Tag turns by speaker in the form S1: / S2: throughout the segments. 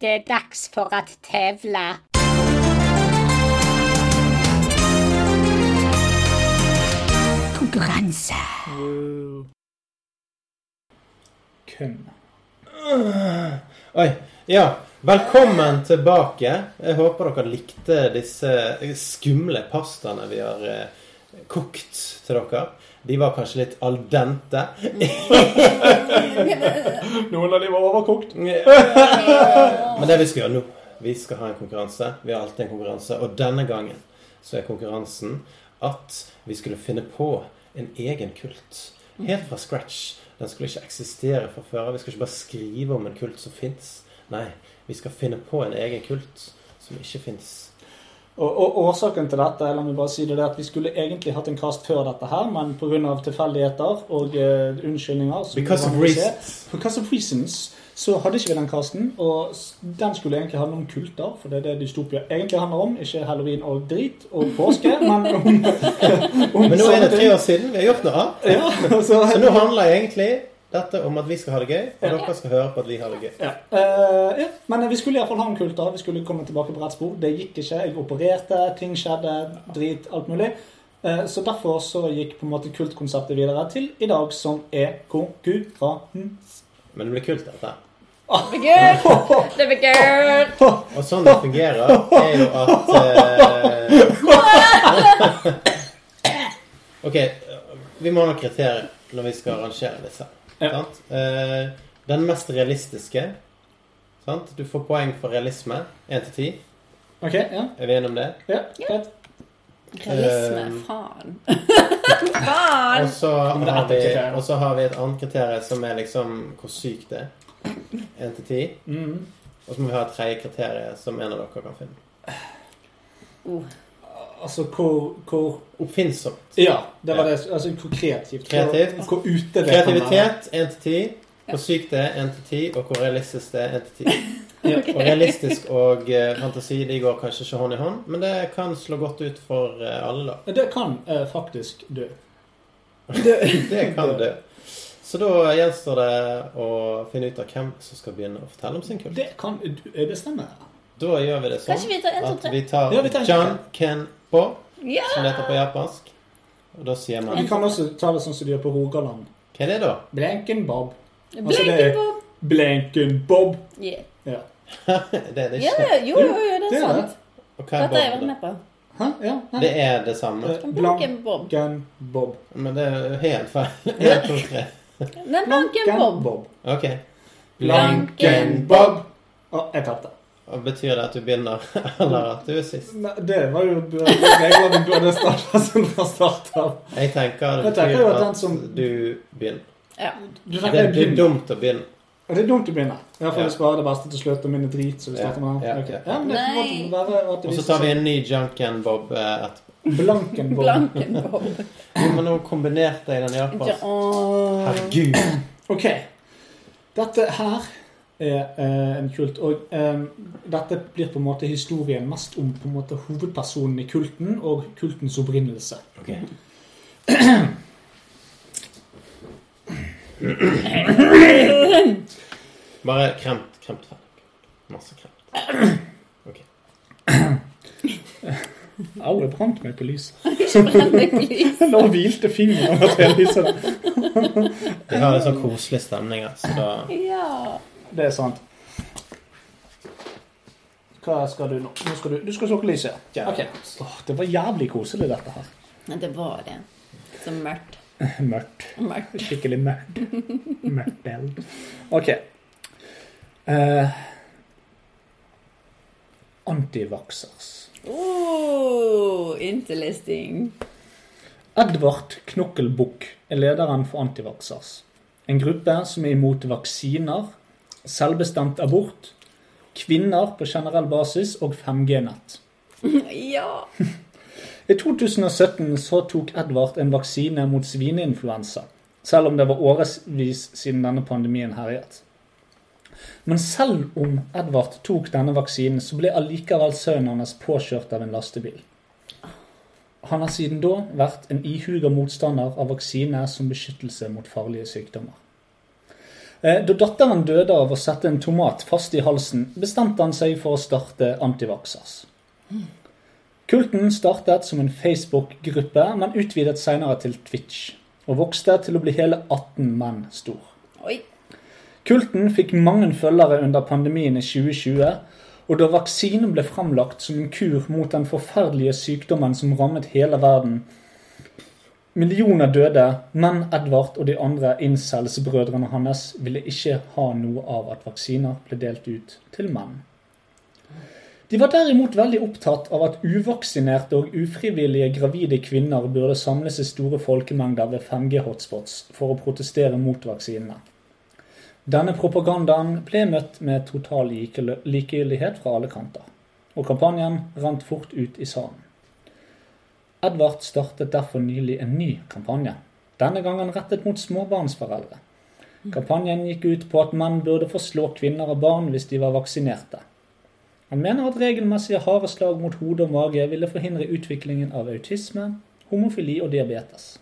S1: det er dags for å tevle. Konkurranse.
S2: Wow. Hvem Øh, Oi. Ja, velkommen tilbake. Jeg håper dere likte disse skumle pastaene vi har eh, kokt til dere. De var kanskje litt al dente.
S3: Noen av de var overkokt.
S2: Men det vi skal gjøre nå Vi skal ha en konkurranse. Vi har alltid en konkurranse. Og denne gangen så er konkurransen at vi skulle finne på en egen kult. Helt fra scratch. Den skulle ikke eksistere fra før av. Vi skal ikke bare skrive om en kult som fins. Nei, vi skal finne på en egen kult som ikke fins.
S3: Og, og årsaken til dette la meg bare si det, det er at vi skulle egentlig hatt en kast før dette her, men pga. tilfeldigheter og eh, unnskyldninger som
S2: Because
S3: vi
S2: of
S3: vanligvis ser,
S2: reasons.
S3: because of reasons så hadde ikke vi den kasten. Og s- den skulle egentlig handle om kulter, for det er det dystopia egentlig handler om. Ikke halloween og drit og påske, men om, om
S2: Men nå er det
S3: sånne
S2: tre
S3: ting.
S2: år siden. Vi har gjort noe annet.
S3: Ja, så,
S2: Så nå handler egentlig dette om at vi skal ha det gøy, og
S3: Ja.
S2: dere skal høre på at vi har det gøy.
S3: Ja. Eh, ja. Men vi skulle iallfall ha en kulter. Vi skulle komme tilbake på rett spor. Det gikk ikke. Jeg opererte, ting skjedde, drit, alt mulig. Eh, så derfor så gikk på en måte kultkonseptet videre til i dag, som er konkurranse.
S2: Men det blir kult, dette.
S1: Det blir gøy! Det blir gøy!
S2: Og sånn det fungerer, er jo at eh, Ok, vi må ha noen kriterier når vi skal arrangere disse.
S3: Ja.
S2: Sant? Eh, den mest realistiske sant? Du får poeng for realisme. Én til ti.
S3: OK? Ja.
S2: Er vi enige om det?
S3: ja, greit.
S1: Realisme.
S2: Eh,
S1: Faen.
S2: Og
S1: Faen!
S2: så
S3: Kommer det
S2: har,
S3: ett
S2: vi-
S3: kriterium?
S2: og så har vi et annet kriterium som er liksom hvor sykt det er. Én til ti.
S3: Mm.
S2: Og så må vi ha et tredje kriterium som en av dere kan finne.
S1: Oh.
S3: Altså hvor, hvor
S2: Oppfinnsomt.
S3: Ja, det var
S2: Ja.
S3: det. Altså hvor kreativt.
S2: Kreativt.
S3: Hvor, hvor ute det kan være.
S2: Kreativitet 1 til 10. Hvor sykt det er 1 til 10, og hvor realistisk det er 1 til 10.
S3: Ja.
S2: Og realistisk og eh, fantasi de går kanskje ikke hånd i hånd, men det kan slå godt ut for eh, alle, da.
S3: Det kan eh, faktisk dø.
S2: Det kan det. Så da gjenstår det å finne ut av hvem som skal begynne å fortelle om sin kult.
S3: Det kan eh, Det stemmer.
S2: Da gjør vi det
S1: Kanskje
S2: sånn
S1: vi tar en, to,
S2: at
S1: tre?
S2: vi tar
S3: Ja, vi tar en
S2: John Kenpo,
S1: Ja!
S2: som det heter på japansk. Og da sier man
S3: Vi kan også ta det sånn som de gjør på Rogaland.
S2: Hva er det, da?
S3: Blenken Bob. Altså, det-
S1: Blinkenbom!
S3: Blenken Bob.
S1: Yeah.
S3: Ja.
S2: det er det
S1: Ja,
S2: ikke.
S1: jo, jo, jo, det
S3: det
S1: er
S3: er
S1: sant.
S2: Og hva
S1: Dette
S2: er
S1: har jeg
S2: Bob,
S1: vært med på.
S3: Hæ? Ja,
S2: da?
S3: nei.
S2: Det er det samme,
S3: Eh,
S1: Blankenbob.
S3: Blanken Bob.
S2: men det er jo helt feil. 1, 2, 3.
S1: Nei, Blankenbob.
S2: Ok.
S1: Blanken
S3: Bob. Å, jeg tapte.
S2: Og Betyr det at du begynner, eller at du er sist?
S3: Nei, Det var jo reglene du hadde starta som fra start av.
S2: Jeg tenker det
S3: Jeg tenker
S2: betyr
S3: jo at den
S2: at
S3: som-
S2: du begynner.
S1: Ja.
S3: Du
S2: Det
S3: tenker jeg
S2: blir
S3: begynner.
S2: dumt å begynne.
S3: Det er dumt å begynne. Ja, for
S2: Ja.
S3: vi sparer det beste til slutt og minner drit. Så vi starter med
S2: Ja, ja,
S3: Ok.
S2: ja.
S3: ja, men det er på en måte være at det
S2: Og så
S3: viser
S2: tar vi
S3: seg-
S2: en ny Junken Bob eh, etterpå.
S3: Blanken Bob.
S1: Blankenbob.
S2: Jo, men nå kombinerte jeg den i japansk.
S1: Ja.
S2: Herregud.
S3: Ok. Dette her er eh, en kult. Og eh, dette blir på en måte historien mest om på en måte hovedpersonen i kulten og kultens opprinnelse.
S2: Ok. Bare kremt, kremt ferdig. Masse kremt.
S3: Au, jeg brant meg på lyset.
S1: Brenneglys.
S3: Nå hvilte fingeren over hele lyset.
S2: Vi har en sånn koselig stemning altså. her, så da
S1: Ja.
S3: Det er sant. Hva skal du nå? nå skal du, du skal slukke lyset.
S2: Ja.
S3: Ok. Åh, det var jævlig koselig, dette her.
S1: Men det var det. Så mørkt.
S3: Mørkt.
S1: Mørkt.
S3: Skikkelig mørkt. Mørkt beld. Ok. Eh, antivaksers.
S1: Oh, interesting.
S3: Edvard Knokkelbukk er lederen for Antivaksers. En gruppe som er imot vaksiner, selvbestemt abort, kvinner på generell basis og 5G-nett.
S1: Ja.
S3: I 2017 så tok Edvard en vaksine mot svineinfluensa, selv om det var årevis siden denne pandemien herjet. Men selv om Edvard tok denne vaksinen, så ble allikevel sønnen hans påkjørt av en lastebil. Han har siden da vært en ihuga motstander av vaksine som beskyttelse mot farlige sykdommer. Eh, Da datteren døde av å sette en tomat fast i halsen, bestemte han seg for å starte Antivaxers. Kulten startet som en Facebook-gruppe, men utvidet senere til Twitch, og vokste til å bli hele 18 menn stor.
S1: Oi.
S3: Kulten fikk mange følgere under pandemien i 2020, og da vaksinen ble fremlagt som en kur mot den forferdelige sykdommen som rammet hele verden. Millioner døde, men Edvard og de andre incels-brødrene hans ville ikke ha noe av at vaksiner ble delt ut til menn. De var derimot veldig opptatt av at uvaksinerte og ufrivillige gravide kvinner burde samles i store folkemengder ved 5G-hotspots for å protestere mot vaksinene. Denne propagandaen ble møtt med total likegyldighet likegyldighet fra alle kanter, og kampanjen rant fort ut i sanden. Edvard startet derfor nylig en ny kampanje, denne gangen rettet mot småbarnsforeldre. Kampanjen gikk ut på at menn burde få slå kvinner og barn hvis de var vaksinerte. Han mener at regelmessige harde slag mot hode og mage ville forhindre utviklingen av autisme, homofili og diabetes.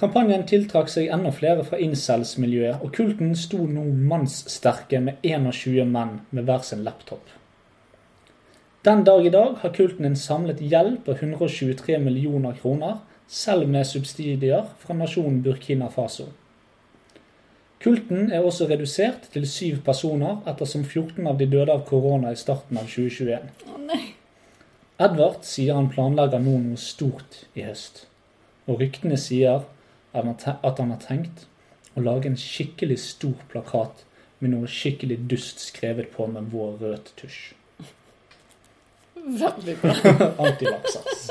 S3: Kampanjen tiltrakk seg enda flere fra incels-miljøet, og kulten sto nå mannssterke med 21 menn med hver sin laptop. Den dag i dag har kulten en samlet gjeld på 123 millioner kroner, selv med subsidier fra nasjonen Burkina Faso. Kulten er også redusert til syv personer, ettersom 14 av de døde av korona i starten av 2021.
S1: Å nei.
S3: Edvard sier han planlegger nå noe stort i høst. Og ryktene sier at han har te- at han har tenkt å lage en skikkelig stor plakat med noe skikkelig dust skrevet på med vår rød tusj.
S1: Veldig bra.
S3: Antivaksers.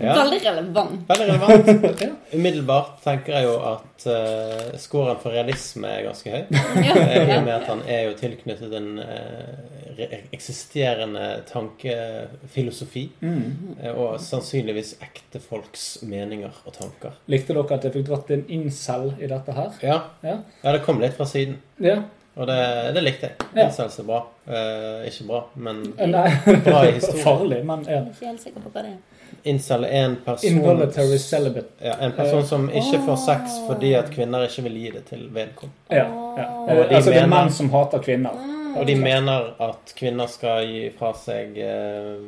S2: Ja.
S1: Veldig relevant.
S2: Veldig relevant.
S3: Ja.
S2: Umiddelbart tenker jeg jo at eh, scoren for realisme er ganske høy. Eh,
S1: Ja,
S2: I og med
S1: ja.
S2: at han er jo tilknyttet en eh, re- eksisterende tankefilosofi.
S3: Mm.
S2: eh, Og sannsynligvis ekte folks meninger og tanker.
S3: Likte dere at jeg fikk dratt en incel i dette her?
S2: Ja,
S3: Ja.
S2: ja det kom litt fra siden.
S3: ja.
S2: Og det, det likte jeg.
S3: Ja.
S2: Incels er bra. Eh, ikke bra, men
S3: Eh, Nei,
S2: bra i historien.
S3: farlig, men ja.
S1: Jeg er ikke helt sikker på hva det er.
S2: Incel er en person
S3: Involuntary celibate.
S2: ja, En person som ikke får sex
S1: Åh.
S2: fordi at kvinner ikke vil gi det til vedkommende.
S3: Ja.
S1: Åh.
S3: ja. Eh,
S2: Og de
S3: Altså, det er
S2: mener-
S3: menn som hater kvinner.
S1: Mm.
S2: Og de mener at kvinner skal gi fra seg eh,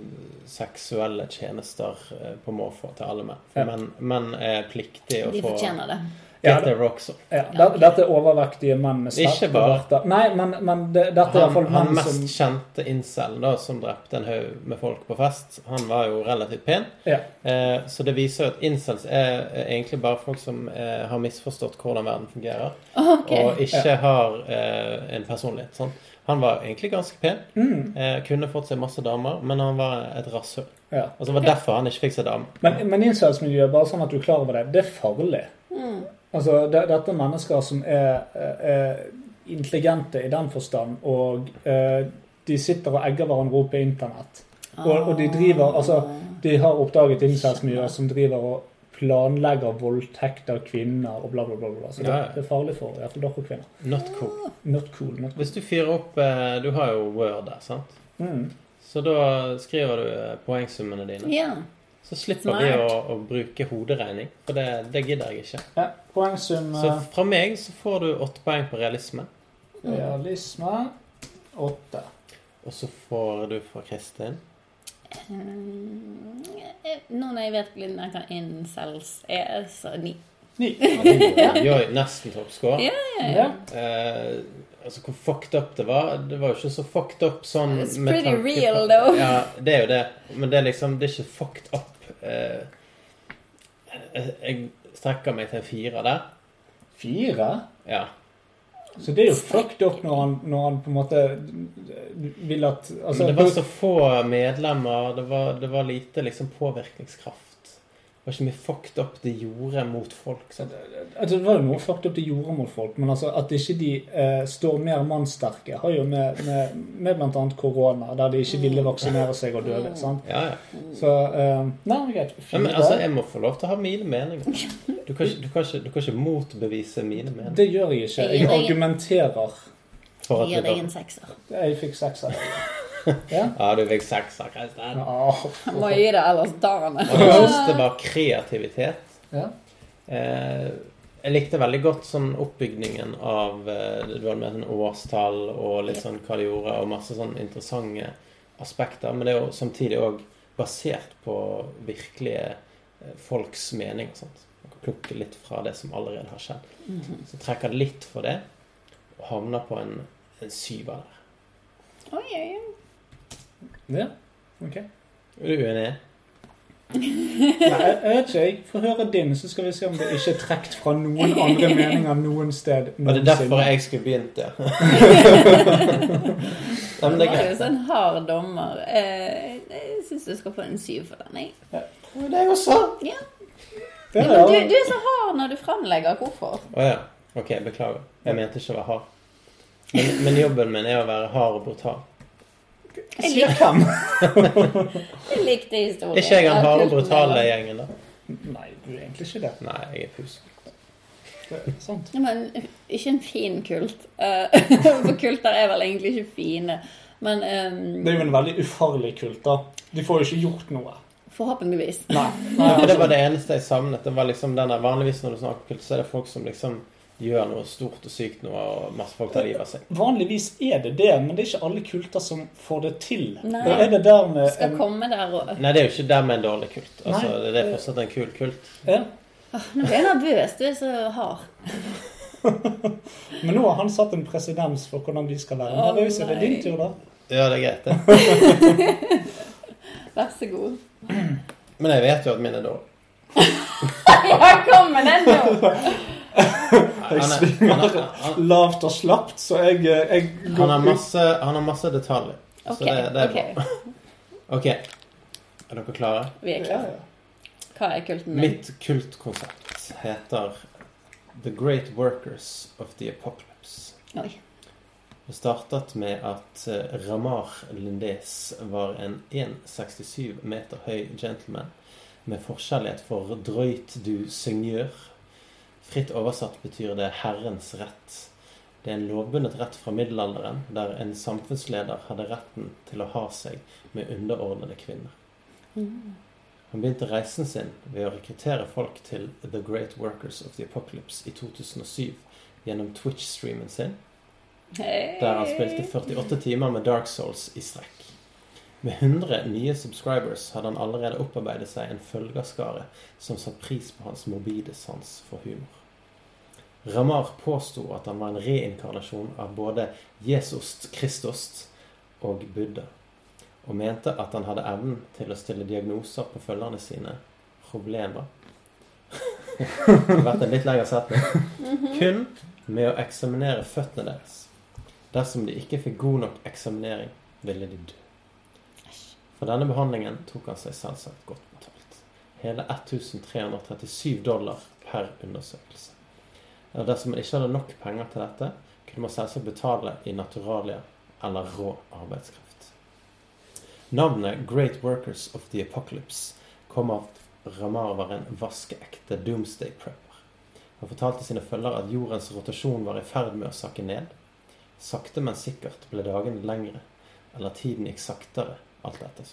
S2: seksuelle tjenester eh, på måfå til alle menn.
S3: Ja.
S2: For menn, menn er pliktig å
S1: De
S2: få
S1: fortjener det.
S3: Ja,
S2: Get their rocks off.
S3: Ja, det- Dette er overvektige menn med sterke
S2: Ikke bare.
S3: barter. Nei, men, men det, dette er
S2: Han,
S3: iallfall
S2: han
S3: menn
S2: mest
S3: som
S2: kjente incelen da, som drepte en haug med folk på fest, han var jo relativt pen.
S3: Ja.
S2: Eh, så det viser jo at incels er er egentlig bare folk som eh, har misforstått hvordan verden fungerer,
S1: Ok.
S2: og ikke har eh, en personlighet. Sånn. Han var egentlig ganske pen,
S3: Mm,
S2: eh, kunne fått seg masse damer, men han var et rasshøl.
S3: ja.
S2: Altså, det var derfor han ikke fikk seg dame.
S3: Men, men incelsmiljøet, bare sånn at du er klar over det, det er farlig.
S1: Mm.
S3: Altså, det, dette er mennesker som er, eh, er intelligente i den forstand, og eh, de sitter og egger hverandre opp på internett. Og- og de driver, altså, De har oppdaget incelsmiljøet som driver og planlegger voldtekt av kvinner og bla, bla, bla. bla. Så det,
S2: Ja, ja.
S3: det er farlig for, ja, for dere kvinner.
S2: Not cool.
S3: Not cool. Not cool.
S2: Hvis du fyrer opp eh, Du har jo Word der, sant?
S3: Mm.
S2: Så da skriver du eh, poengsummene dine.
S1: Ja.
S2: Så slipper vi å,
S1: Smart.
S2: å bruke hoderegning, for det, det gidder jeg ikke.
S3: Ja, poengsum
S2: Så
S3: eh,
S2: fra meg så får du åtte poeng på realisme,
S3: realisme åtte.
S2: og så får du fra Kristin
S1: Mm. Eh, Nå når jeg vet litt mer hva incels er, så ni.
S3: Ni.
S2: Gjør nesten toppscore.
S1: Ja.
S3: Ja.
S2: Eh, altså hvor fucked up det var Det var jo ikke så fucked up sånn
S1: It's
S2: med
S1: pretty
S2: tanke
S1: real,
S2: på-
S1: though.
S2: Ja, det er jo det. Men det er liksom Det er ikke fucked up. eh, jeg, jeg strekker meg til en firer der.
S3: Fire?
S2: Ja.
S3: Så det er jo fucked up når han, når han på en måte vil at altså,
S2: Men det var så få medlemmer, det var, det var lite liksom påvirkningskraft. Det var ikke mye fucked up de gjorde mot folk. Sant?
S3: altså, Det var jo noe fucked up de gjorde mot folk, men altså, at ikke de eh, står mer mannssterke, har jo med, med, med bl.a. korona, der de ikke ville vaksinere seg og døde. sant?
S2: Ja, ja.
S3: Så eh, Nei, men greit.
S2: Nei, men
S3: Fire.
S2: altså, jeg må få lov til å ha mine meninger. Du kan ikke, du kan ikke, du kan ikke motbevise mine meninger.
S3: det gjør jeg
S1: Jeg
S3: ikke.
S1: gir
S3: Jeg
S1: deg-
S3: argumenterer.
S2: For
S1: Gir
S2: at
S1: deg
S2: du,
S1: en sekser.
S3: Jeg fikk seks av det. Ja?
S2: ja, du fikk sekser, Kristian.
S3: Ah,
S1: Han må gi det, ellers tar han det.
S2: Og du syns det var kreativitet.
S3: ja.
S2: Eh, Jeg likte veldig godt sånn oppbygningen av eh, Du hadde med sånn årstall og litt sånn hva de gjorde, og masse sånn interessante aspekter. Men det er jo samtidig òg basert på virkelige eh, folks mening og sånt. Man kan plukke litt fra det som allerede har skjedd.
S1: Mhm.
S2: Så trekker det litt for det, og havner på en, en syver der.
S1: Oi, oi, oi.
S3: Ja. Ok.
S2: Er du uenig?
S3: Nei, jeg jeg vet ikke. Jeg får høre din, så skal vi se om det ikke er trukket fra noen andre meninger noen sted.
S2: Var det derfor jeg skulle begynt, ja? Nei,
S1: Det
S2: men det er
S1: var jo
S2: greit.
S1: sånn hard dommer. Eh, Jeg syns du skal få en syv for den. jeg.
S2: Men Det er jo så!
S3: Det
S1: Men Du,
S3: er
S1: du er så hard når du fremlegger hvorfor.
S2: Å ja. Ok, beklager. Jeg mente ikke å være hard. Men, men jobben min er å være hard og brutal.
S1: Jeg
S3: Sier
S1: likte,
S3: hvem?
S1: jeg likte historien.
S2: Er ikke jeg den
S1: Ja,
S2: harde og
S1: kulten
S2: brutale
S1: der.
S2: gjengen, da?
S3: Nei, du er egentlig ikke det.
S2: Nei, jeg er pus.
S3: det er sant.
S1: Ja, Men ikke en fin kult. Eh, For kulter er vel egentlig ikke fine. Men ehm,
S3: Det er jo en veldig ufarlig kult, da. De får jo ikke gjort noe.
S1: forhåpentligvis.
S3: Nei.
S2: Nei, for det var det eneste jeg savnet. Det var liksom den der, Vanligvis når du snakker om kult, så er det folk som liksom gjør noe stort og sykt noe, og masse folk tar livet av seg.
S3: altså, Vanligvis er det det, men det er ikke alle kulter som får det til.
S1: Nei.
S3: Da er det der
S2: Eh,
S3: med
S1: Skal komme der og
S2: Nei, det er jo ikke dermed en dårlig kult. Altså,
S3: Nei.
S2: Det er fortsatt en kul kult.
S3: ja.
S1: Åh, Nå blir jeg nervøs. Du er så hard.
S3: Men nå har han satt en presedens for hvordan vi skal være
S1: Å,
S3: nervøse. Det er din
S1: nei.
S3: tur, da.
S2: Ja, det er greit, det.
S1: Vær så god.
S2: Men jeg vet jo at min er dårlig.
S1: Ja, kom med den nå!
S2: Han
S3: Jeg
S2: er- han
S3: svinger
S2: er- han-
S3: lavt og slapt, så jeg, eh, jeg
S2: han
S3: går
S2: har
S3: ut.
S2: masse, han har masse detaljer. Så
S1: Ok,
S2: det, det er
S1: ok.
S2: bra. Ok, er dere klare?
S1: Vi er
S3: Ja,
S1: klare.
S3: ja.
S1: Hva er kulten din?
S2: Mitt kultkonsept heter The Great Workers of the Apocalypse.
S1: Oi.
S2: Det startet med at eh, Ramar Lindés var en 1,67 meter høy gentleman med forkjærlighet for drøyt du seigneur. Fritt oversatt betyr det herrens rett. Det er en lovbundet rett fra middelalderen, der en samfunnsleder hadde retten til å ha seg med underordnede kvinner.
S1: Mm.
S2: Han begynte reisen sin ved å rekruttere folk til The Great Workers of the Apocalypse i 2007 gjennom Twitch-streamen sin,
S1: Hei.
S2: der han spilte 48 timer med Dark Souls i strekk. Med 100 nye subscribers hadde han allerede opparbeidet seg en følgerskare som satte pris på hans morbide sans for humor. Ramar påsto at han var en reinkarnasjon av både Jesus Kristus og Buddha, og mente at han hadde evnen til å stille diagnoser på følgerne sine problemer Det har vært en litt lengre setning. Kun med å eksaminere føttene deres. Dersom de ikke fikk god nok eksaminering, ville de dø. For denne behandlingen tok han seg selvsagt godt betalt. Hele 1337 dollar per undersøkelse. Og dersom man ikke hadde nok penger til dette, kunne man selvsagt betale i naturalia eller rå arbeidskraft. Navnet Great Workers of the Apocalypse kom av at Ramar var en vaskeekte doomsday prepper. Han fortalte sine følgere at jordens rotasjon var i ferd med å sakke ned. Sakte, men sikkert ble dagene lengre, eller tiden gikk saktere, alt etter.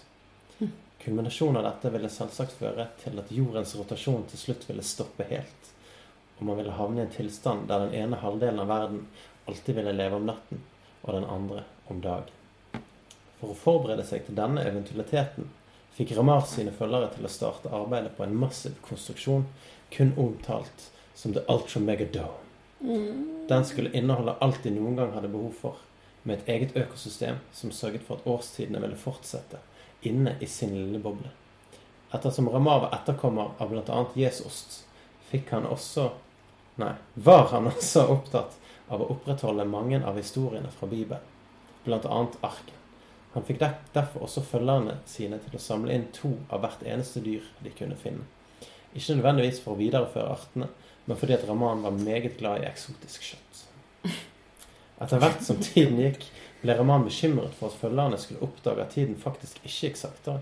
S2: Kulminasjonen av dette ville selvsagt føre til at jordens rotasjon til slutt ville stoppe helt, og man ville havne i en tilstand der den ene halvdelen av verden alltid ville leve om natten, og den andre om dagen. For å forberede seg til denne eventualiteten fikk Ramar sine følgere til å starte arbeidet på en massiv konstruksjon kun omtalt som The Ultra Mega Dome.
S1: Mm.
S2: Den skulle inneholde alt de noen gang hadde behov for, med et eget økosystem som sørget for at årstidene ville fortsette inne i sin lille boble. Ettersom Ramar var etterkommer av bl.a. Jesus, fikk han også Nei, var han også opptatt av å opprettholde mange av historiene fra Bibelen, bl.a. arken. Han fikk der- derfor også følgerne sine til å samle inn to av hvert eneste dyr de kunne finne. Ikke nødvendigvis for å videreføre artene, men fordi at Raman var meget glad i eksotisk kjøtt. Etter hvert som tiden gikk, ble Raman bekymret for at følgerne skulle oppdage at tiden faktisk ikke gikk saktere,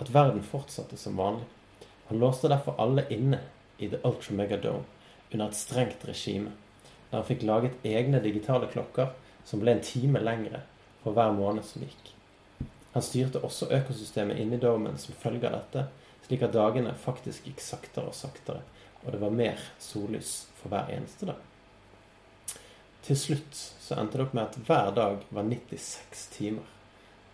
S2: at verden fortsatte som vanlig. Han låste derfor alle inne i The Ultra Mega Dome under et strengt regime, der han fikk laget egne digitale klokker som ble en time lengre for hver måned som gikk. Han styrte også økosystemet inni domen som følge av dette, slik at dagene faktisk gikk saktere og saktere Og det var mer sollys for hver eneste dag. Til slutt så endte det opp med at hver dag var 96 timer.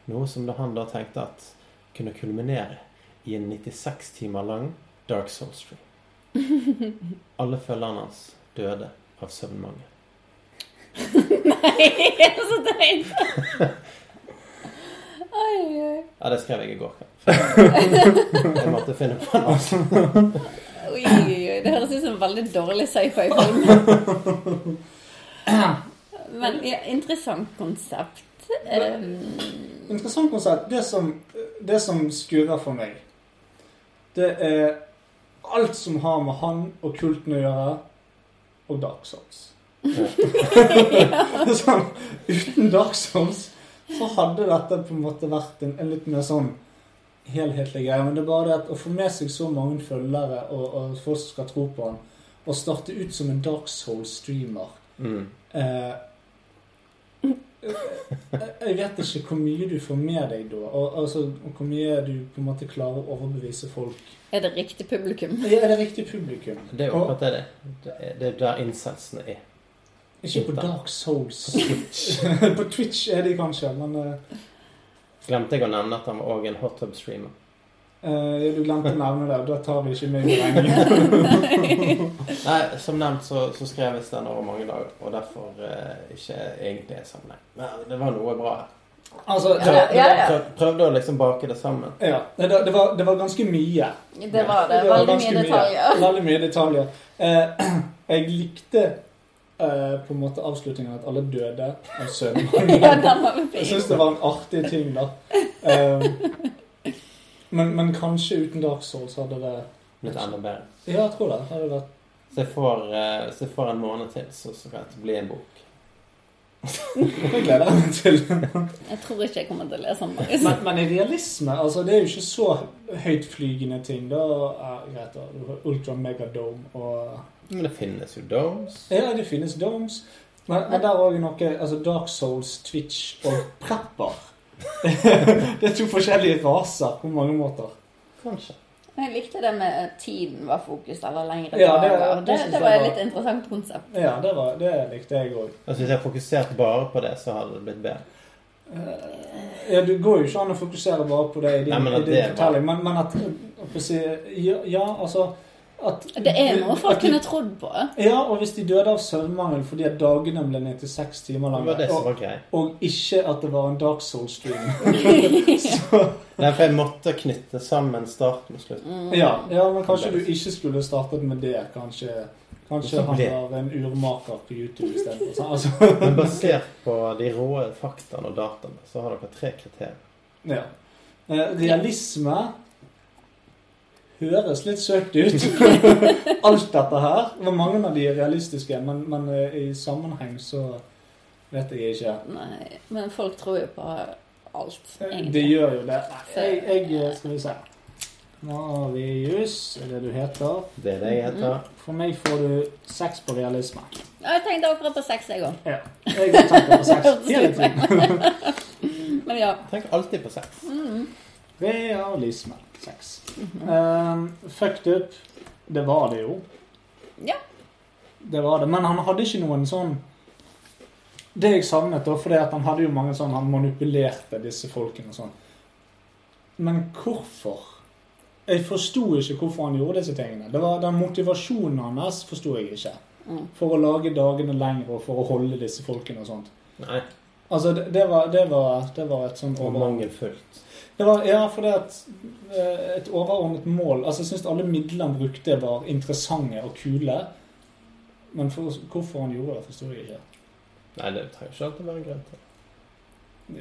S2: Noe som da han da tenkte at kunne kulminere i en 96 timer lang Dark Souls Stream. Alle følgerne hans døde av søvnmangel.
S4: Nei, det er så teit! Oi, oi.
S2: Ja, det skrev jeg i går kveld. Jeg måtte finne på en avsnitt.
S4: Oi, oi, oi. Det høres ut som en veldig dårlig sci-fi-film. Men ja, interessant konsept. Um,
S3: Interessant konsept. Det som, det som skurrer for meg, det er alt som har med han og kulten å gjøre, og Dark Souls. Det er sånn, uten Dark Souls så hadde dette på en måte vært en, en litt mer sånn helhetlig greie. Men det er bare det at å få med seg så mange følgere og, og folk som skal tro på han, og starte ut som en Dark Souls-streamer
S2: Mm.
S3: Eh, eh, jeg vet ikke hvor mye du får med deg da, og, altså, og hvor mye du på en måte klarer å overbevise folk.
S4: er det riktig publikum?
S3: Er det riktig publikum?
S2: Det er jo akkurat det det er. Det er- Det er der incensene er.
S3: Ikke på Dark Souls.
S2: Switch.
S3: på Twitch er de kanskje, men eh,
S2: Glemte jeg å nevne at han var òg en hot tub streamer.
S3: eh, du glemte å nevne det, og da tar vi ikke med i regningen.
S2: Nei, som nevnt så, så skrev jeg den over mange dager, og derfor eh, ikke egentlig en sammenheng. Men det var noe bra. her.
S3: altså,
S2: Så,
S3: det,
S4: Ja, ja, ja.
S2: så prøvde å liksom bake det sammen.
S3: ja, det, det, var, det var ganske mye.
S4: Det var det.
S3: Det var
S4: Veldig
S3: ganske
S4: mye detaljer.
S3: Veldig mye detaljer. Eh, jeg likte eh, på en måte avslutningen at alle døde av søvnmangel.
S4: Ja, den var jo
S3: Jeg
S4: fin.
S3: syns det var en artig ting, da. Ehm, men, men kanskje uten Dark Souls hadde det
S2: Blitt enda bedre.
S3: Ja, jeg tror det. Hadde vært
S2: Så jeg får, eh, hvis jeg får en måned til, så så kan det bli en bok.
S3: Det gleder jeg meg til.
S4: Jeg tror ikke jeg kommer til å lese den. Marius.
S3: Men, men i realisme, altså, det er jo ikke så høytflygende ting. Da ja, greit, da. Du har Ultra Megadome og
S2: Men det finnes jo domes.
S3: Ja, det finnes domes. Men, men der òg noe altså Dark Souls, Twitch og Prepper. det er to forskjellige raser på mange måter.
S2: Kanskje.
S4: Jeg likte det med at tiden var fokus, eller lengre
S3: Ja, det-
S4: dager.
S3: det
S4: Det,
S3: synes
S4: det
S3: jeg
S4: var et
S3: var-
S4: litt interessant konsept.
S3: Ja, det, var, det likte jeg òg.
S2: Altså, hvis jeg fokuserte bare på det, så hadde det blitt bedre.
S3: Ja, det går jo ikke an å fokusere bare på det i din,
S2: Nei, men
S3: i
S2: at
S3: din
S2: det er
S3: fortelling, men, men at å få si, ja, ja, altså at,
S4: Det er noe folk
S3: at de-
S4: kunne trodd på.
S3: Ja, og hvis de døde av søvnmangel fordi at dagene ble 96 timer
S2: Det var
S3: lange,
S2: det som
S3: og,
S2: var greit.
S3: og ikke at det var en Dark Soul-stream
S2: Nei, for jeg måtte knytte sammen start med slutt.
S4: Mm.
S3: ja, ja, men kanskje du ikke skulle startet med det. Kanskje, kanskje han
S2: Det.
S3: var en urmaker på YouTube istedenfor. sånn, Altså,
S2: Men basert på de råe faktaene og dataene, så har dere tre kriterier.
S3: ja. Eh, Realisme høres litt søkt ut, alt dette her. Men mange av de er realistiske, men, men eh, i sammenheng så vet jeg ikke. Eh,
S4: Nei, men folk tror jo på alt,
S3: Det
S4: egentlig.
S3: gjør jo det. Jeg, jeg eh, Skal vi se. Marius er det du heter.
S2: Det er det jeg heter.
S3: For meg får du seks på realisme.
S4: Ja, jeg tenkte akkurat på sex, jeg òg.
S3: Ja. Jeg tenker på seks hele tiden.
S4: Men ja. Mm.
S2: Tenk alltid på sex.
S3: Realisme. Seks. Um, fucked up. Det var det jo.
S4: Ja.
S3: Det var det. Men han hadde ikke noen sånn Det jeg savnet, da, fordi at han hadde jo mange sånn Han manipulerte disse folkene og sånn. Men hvorfor? Jeg forsto ikke hvorfor han gjorde disse tingene. Det var Den motivasjonen hans forsto jeg ikke.
S4: Mm.
S3: For å lage dagene lengre og for å holde disse folkene og sånt.
S2: Nei,
S3: Altså, det, det, var, det, var, det var et sånn
S2: og mangelfullt.
S3: det var, ja, for det at eh, et overordnet mål Altså, jeg syns alle midlene han brukte, var interessante og kule. Men for, hvorfor han gjorde det, forstår jeg ikke.
S2: Nei, det trenger ikke alltid være en grunn til.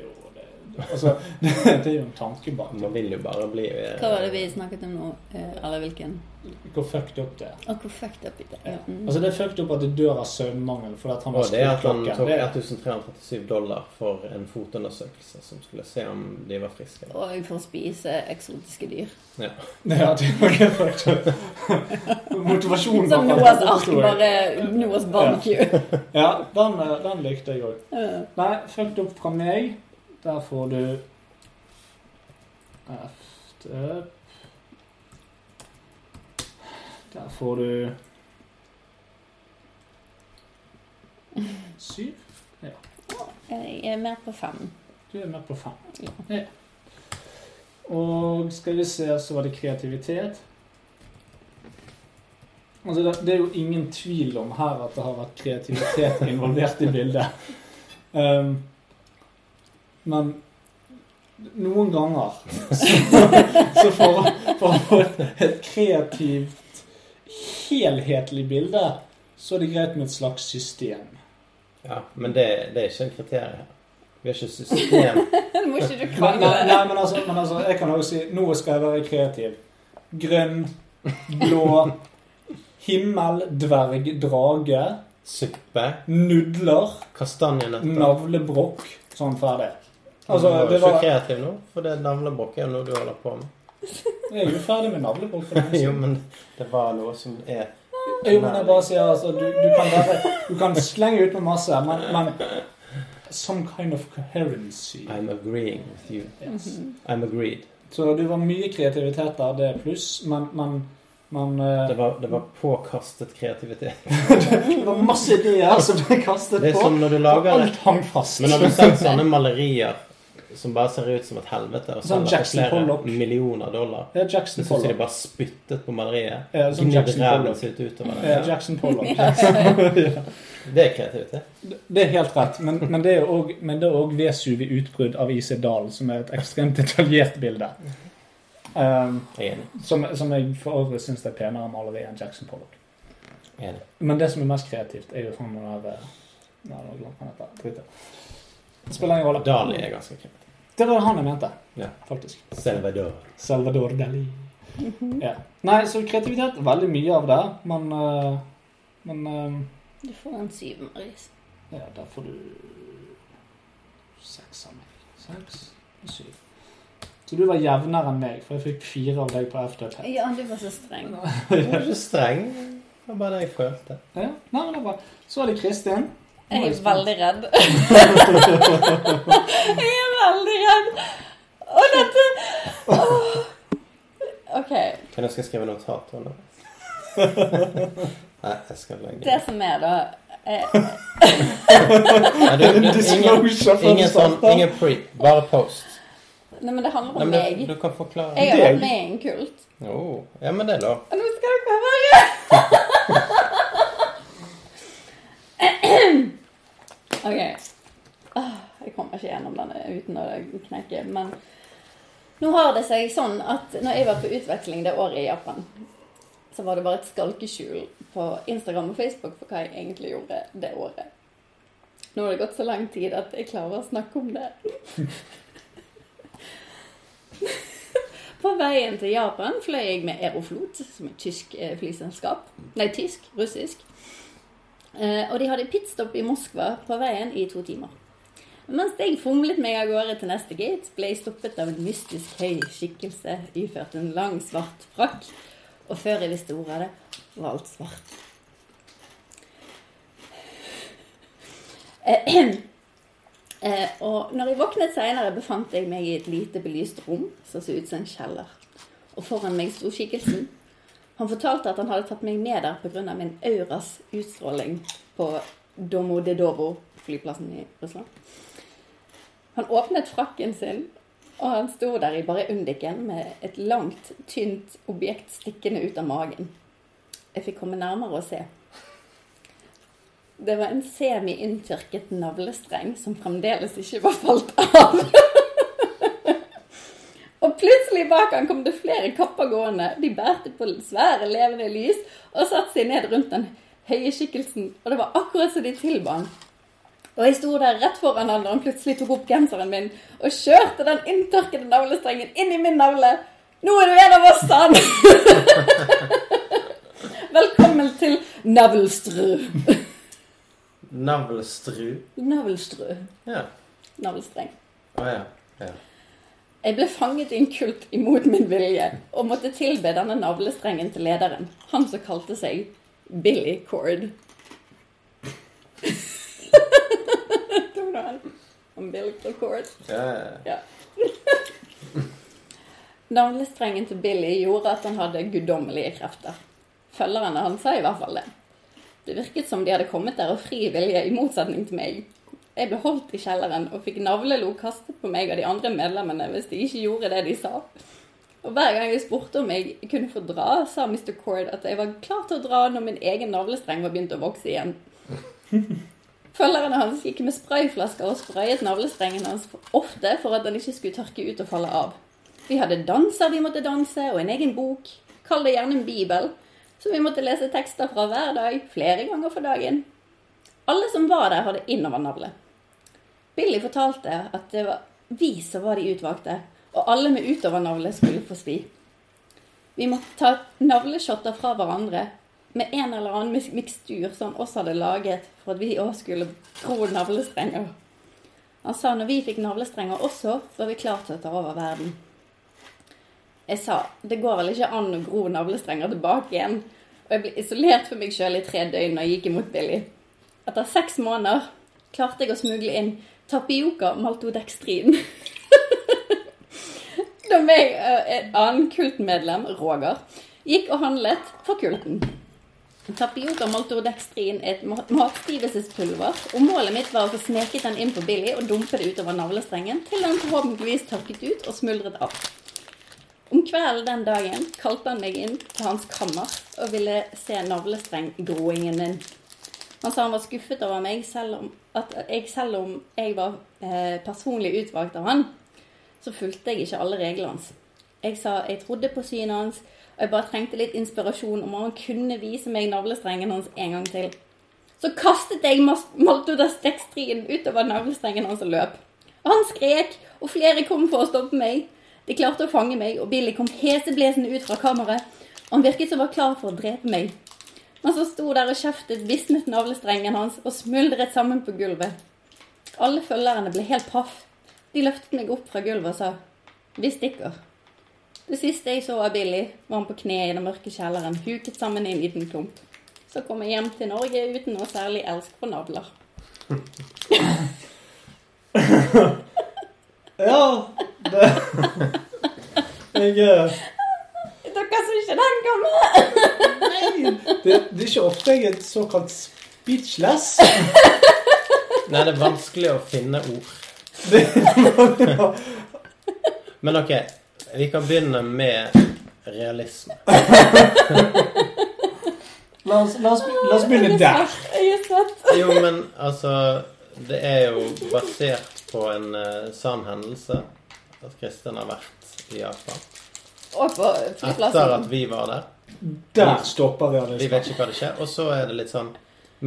S3: Jo, det, altså, det, det er jo en tanke bak det.
S2: Man vil jo bare bli eh,
S4: Hva var det vi snakket om nå? Eh, Eller hvilken?
S3: Hvor fucked up det er.
S4: Og hvor fucked up det
S3: Ja.
S4: er. Mm.
S3: Altså, det er fucked up at det dør av søvnmangel fordi at han
S2: Og
S3: var
S2: det er at han
S3: skrukklokken.
S2: tok
S3: Det er-
S2: 1337 dollar for en fotundersøkelse som skulle se om de var friske. eller-
S4: Og for å spise eksotiske dyr.
S3: Ja, det var ikke fucked up. Motivasjonen
S4: Som
S3: var-
S4: Noahs ark,
S3: forstår jeg.
S4: bare Noahs barbecue. Eh,
S3: Ja, den, eh, den likte jeg òg.
S4: Ja.
S3: Nei, fucked up fra meg. Der får du F-up Der får du Syv?
S4: Jeg er mer på fem.
S3: Du er med på fem.
S4: Ja.
S3: Ja. Og skal vi se, så var det kreativitet. Altså, det, det er jo ingen tvil om her at det har vært kreativitet involvert i bildet. Ehm, men noen ganger så, så for, for å få et kreativt, helhetlig bilde, så er det greit med et slags system.
S2: Ja, men det, det er ikke en kriterium her. Vi har ikke system.
S4: Må ikke du
S3: Nei,
S4: krangle?
S3: nei, nei men, altså, men altså, jeg kan også si Nå skal jeg være kreativ. Grønn, blå, himmel, dverg, drage,
S2: Suppe.
S3: nudler,
S2: Kastanjenøtter.
S3: navlebrokk. Sånn ferdig.
S2: Altså,
S3: Altså,
S2: du var
S3: det
S2: jo ikke
S3: var,
S2: kreativ nå, for det navlebrokk er jo noe du holder på med.
S3: jeg er jo ferdig med navlebrokk. for lenge
S2: Jo,
S3: siden.
S2: men det var noe som er
S3: Jo, men jeg bare sier altså, du, du, kan være, du kan slenge ut med masse, men, men Some kind of coherency.
S2: I'm agreeing with you.
S3: Yes.
S4: Mm-hmm.
S2: I'm agreed.
S3: Så det var mye kreativitet der, det er pluss, men, men, men eh,
S2: Det var, det var påkastet kreativitet.
S3: Det var masse ideer som ble kastet
S2: Det er
S3: på.
S2: som når du
S3: og
S2: lager
S3: alt hang fast.
S2: Men har du sett sånne malerier som bare ser ut som et helvete,
S3: Sånn
S2: og selger for
S3: Jackson
S2: flere
S3: Pollock.
S2: millioner dollar?
S3: Det er Jackson
S2: Jeg syns de
S3: Pollock.
S2: bare spyttet på maleriet.
S3: Ja, sånn
S2: Gnidde
S3: Jackson
S2: ræven
S3: Pollock.
S2: sitt utover
S3: Ja,
S2: det.
S3: Jackson Pollock.
S2: Det er kreativitet.
S3: Det er helt rett, men, men det er òg- men det er òg Vesuv i utbrudd av IC Dalen, som er et ekstremt detaljert bilde. Um,
S2: Jeg er enig.
S3: som, som jeg for øvrig syns er penere maleri enn Jackson Pollock.
S2: Jeg er enig.
S3: Men det som er mest kreativt, er jo sånn når det er- Nei, nå glemte jeg dette. Drit i det. Spiller ingen rolle.
S2: Dali er ganske kreativ.
S3: Det var han jeg mente,
S2: Ja.
S3: faktisk.
S2: Salvador.
S3: Salvador Dali.
S4: Mhm.
S3: Ja. Nei, så kreativitet veldig mye av det, men eh, Men eh,
S4: Du får en syv, Maris.
S3: ja, der får du seks av meg. Seks og syv. Så du var jevnere enn meg, for jeg fikk fire av deg på FDP.
S4: Ja, du var så streng.
S2: Du er ikke streng. Det var bare det jeg følte.
S3: Ja, nei, men det er bra. Så er det Kristin. Nå
S4: Jeg er
S3: spent.
S4: veldig redd. jeg er veldig redd. Og dette Åh. OK.
S2: Kan jeg skal jeg skrive notat under? Nei, jeg skal legge
S4: Det som er, da eh,
S3: sånn-
S2: Nei, du,
S3: En
S2: du- ingen,
S3: disclosure før vi
S2: ingen, sånn,
S3: starter.
S2: ingen pre, bare post.
S4: Nei, men det handler
S2: Nei,
S4: om
S2: men du,
S4: meg.
S2: du kan forklare.
S4: Jeg har
S3: Deg?
S4: vært med i en kult.
S2: Jo, ja, men det er lov.
S4: Og nå skal dere høre! OK. Åh, Jeg kommer ikke gjennom denne uten å knekke, men nå har det seg sånn at når jeg var på utveksling det året i Japan, så var det bare et skalkeskjul på Instagram og Facebook for hva jeg egentlig gjorde det året. Nå har det gått så lang tid at jeg klarer å snakke om det. På veien til Japan fløy jeg med Aeroflot, som er et tysk eh, flyselskap. Nei, tysk. Russisk. Eh, og de hadde pitstop i Moskva på veien i to timer. Mens jeg fomlet meg av gårde til neste gate, ble jeg stoppet av en mystisk høy skikkelse iført en lang, svart frakk. Og før jeg visste ordet av det, var alt svart. Eh, Eh, og når jeg våknet senere, befant jeg meg i et lite belyst rom som så ut som en kjeller. Og foran meg sto skikkelsen. Han fortalte at han hadde tatt meg med der pga. min auras utstråling på Domodedovo-flyplassen i Russland. Han åpnet frakken sin, og han sto der i bare undiken med et langt, tynt objekt stikkende ut av magen. Jeg fikk komme nærmere og se. Det var en semi-inntørket navlestreng som fremdeles ikke var falt av. og plutselig bak han kom det flere kapper gående. De bærte på svære levende lys og satte seg ned rundt den høye skikkelsen. Og det var akkurat som de tilba han. Og jeg sto der rett foran han når han plutselig tok opp genseren min og kjørte den inntørkede navlestrengen inn i min navle. Nå er du en av oss, sa han. Velkommen til Navlstrø.
S2: Navlestru.
S4: Navlstrø.
S2: Ja.
S4: Navlestreng.
S2: Å ja. ja.
S4: Jeg ble fanget i en kult imot min vilje, og måtte tilbe denne navlestrengen til lederen. Han som kalte seg Billy Cord. Tror du han? Umbilical cord.
S2: ja, ja.
S4: Ja. Navlestrengen til Billy gjorde at han hadde guddommelige krefter. Følgerne hans sa i hvert fall det. Det virket som de hadde kommet der av fri vilje, i motsetning til meg. Jeg ble holdt i kjelleren og fikk navlelo kastet på meg av de andre medlemmene hvis de ikke gjorde det de sa. Og hver gang jeg spurte om jeg kunne få dra, sa Mr. Cord at jeg var klar til å dra når min egen navlestreng var begynt å vokse igjen. Følgerne hans gikk med sprayflasker og sprayet navlestrengen hans ofte for at den ikke skulle tørke ut og falle av. Vi hadde danser vi måtte danse, og en egen bok. Kall det gjerne en bibel. Som vi måtte lese tekster fra hver dag, flere ganger for dagen. Alle som var der, hadde innovernavle. Billy fortalte at det var vi som var de utvalgte, og alle med utovernavle skulle få svi. Vi måtte ta navleshotter fra hverandre med en eller annen mis- mikstur som han også hadde laget for at vi òg skulle gro navlestrenger. Han sa når vi fikk navlestrenger også, var vi klare til å ta over verden. Jeg sa det går vel ikke an å gro navlestrenger tilbake igjen. Og jeg ble isolert for meg sjøl i tre døgn og gikk imot Billy. Etter seks måneder klarte jeg å smugle inn tapioca maltodekstrin. da meg og et annet kultmedlem, Roger, gikk og handlet for kulten. Tapioca maltodekstrin er et mat- matstrivelsespulver, og målet mitt var å få sneket den inn på Billy og dumpe det utover navlestrengen til den forhåpentligvis tørket ut og smuldret av. Om kvelden den dagen kalte han meg inn til hans kammer og ville se navlestrenggroingen min. Han sa han var skuffet over meg, selv om, at jeg, selv om jeg var eh, personlig utvalgt av han, så fulgte jeg ikke alle reglene hans. Jeg sa jeg trodde på synet hans, og jeg bare trengte litt inspirasjon om han kunne vise meg navlestrengen hans en gang til. Så kastet jeg mas- maltodestekstrien utover navlestrengen hans og løp. Og han skrek, og flere kom for å stoppe meg. De klarte å fange meg, og Billy kom heseblesende ut fra kammeret. Og han virket som var klar for å drepe meg. Men så sto der og kjeftet, visnet navlestrengen hans og smuldret sammen på gulvet. Alle følgerne ble helt paff. De løftet meg opp fra gulvet og sa 'Vi stikker'. Det siste jeg så av Billy, var han på kne i den mørke kjelleren, huket sammen i en liten klump. Så kom jeg hjem til Norge uten noe særlig elsk for navler.
S3: Ja, det Jeg eh,
S4: Dere som ikke den gamle!
S3: Nei, det, det er ikke ofte jeg er såkalt speechless.
S2: Nei, det er vanskelig å finne ord.
S3: Det,
S2: Men OK, vi kan begynne med realisme.
S3: la, oss, la, oss, la oss begynne der.
S4: Jeg er svett.
S2: Jo, men altså Det er jo basert på en eh, sann hendelse at Kristin har vært i Japan.
S4: Og på
S2: Etter at
S4: flyplassen.
S2: vi var der.
S3: Der stopper
S2: Vi
S3: realismen.
S2: vet ikke hva det skjer. Og så er det litt sånn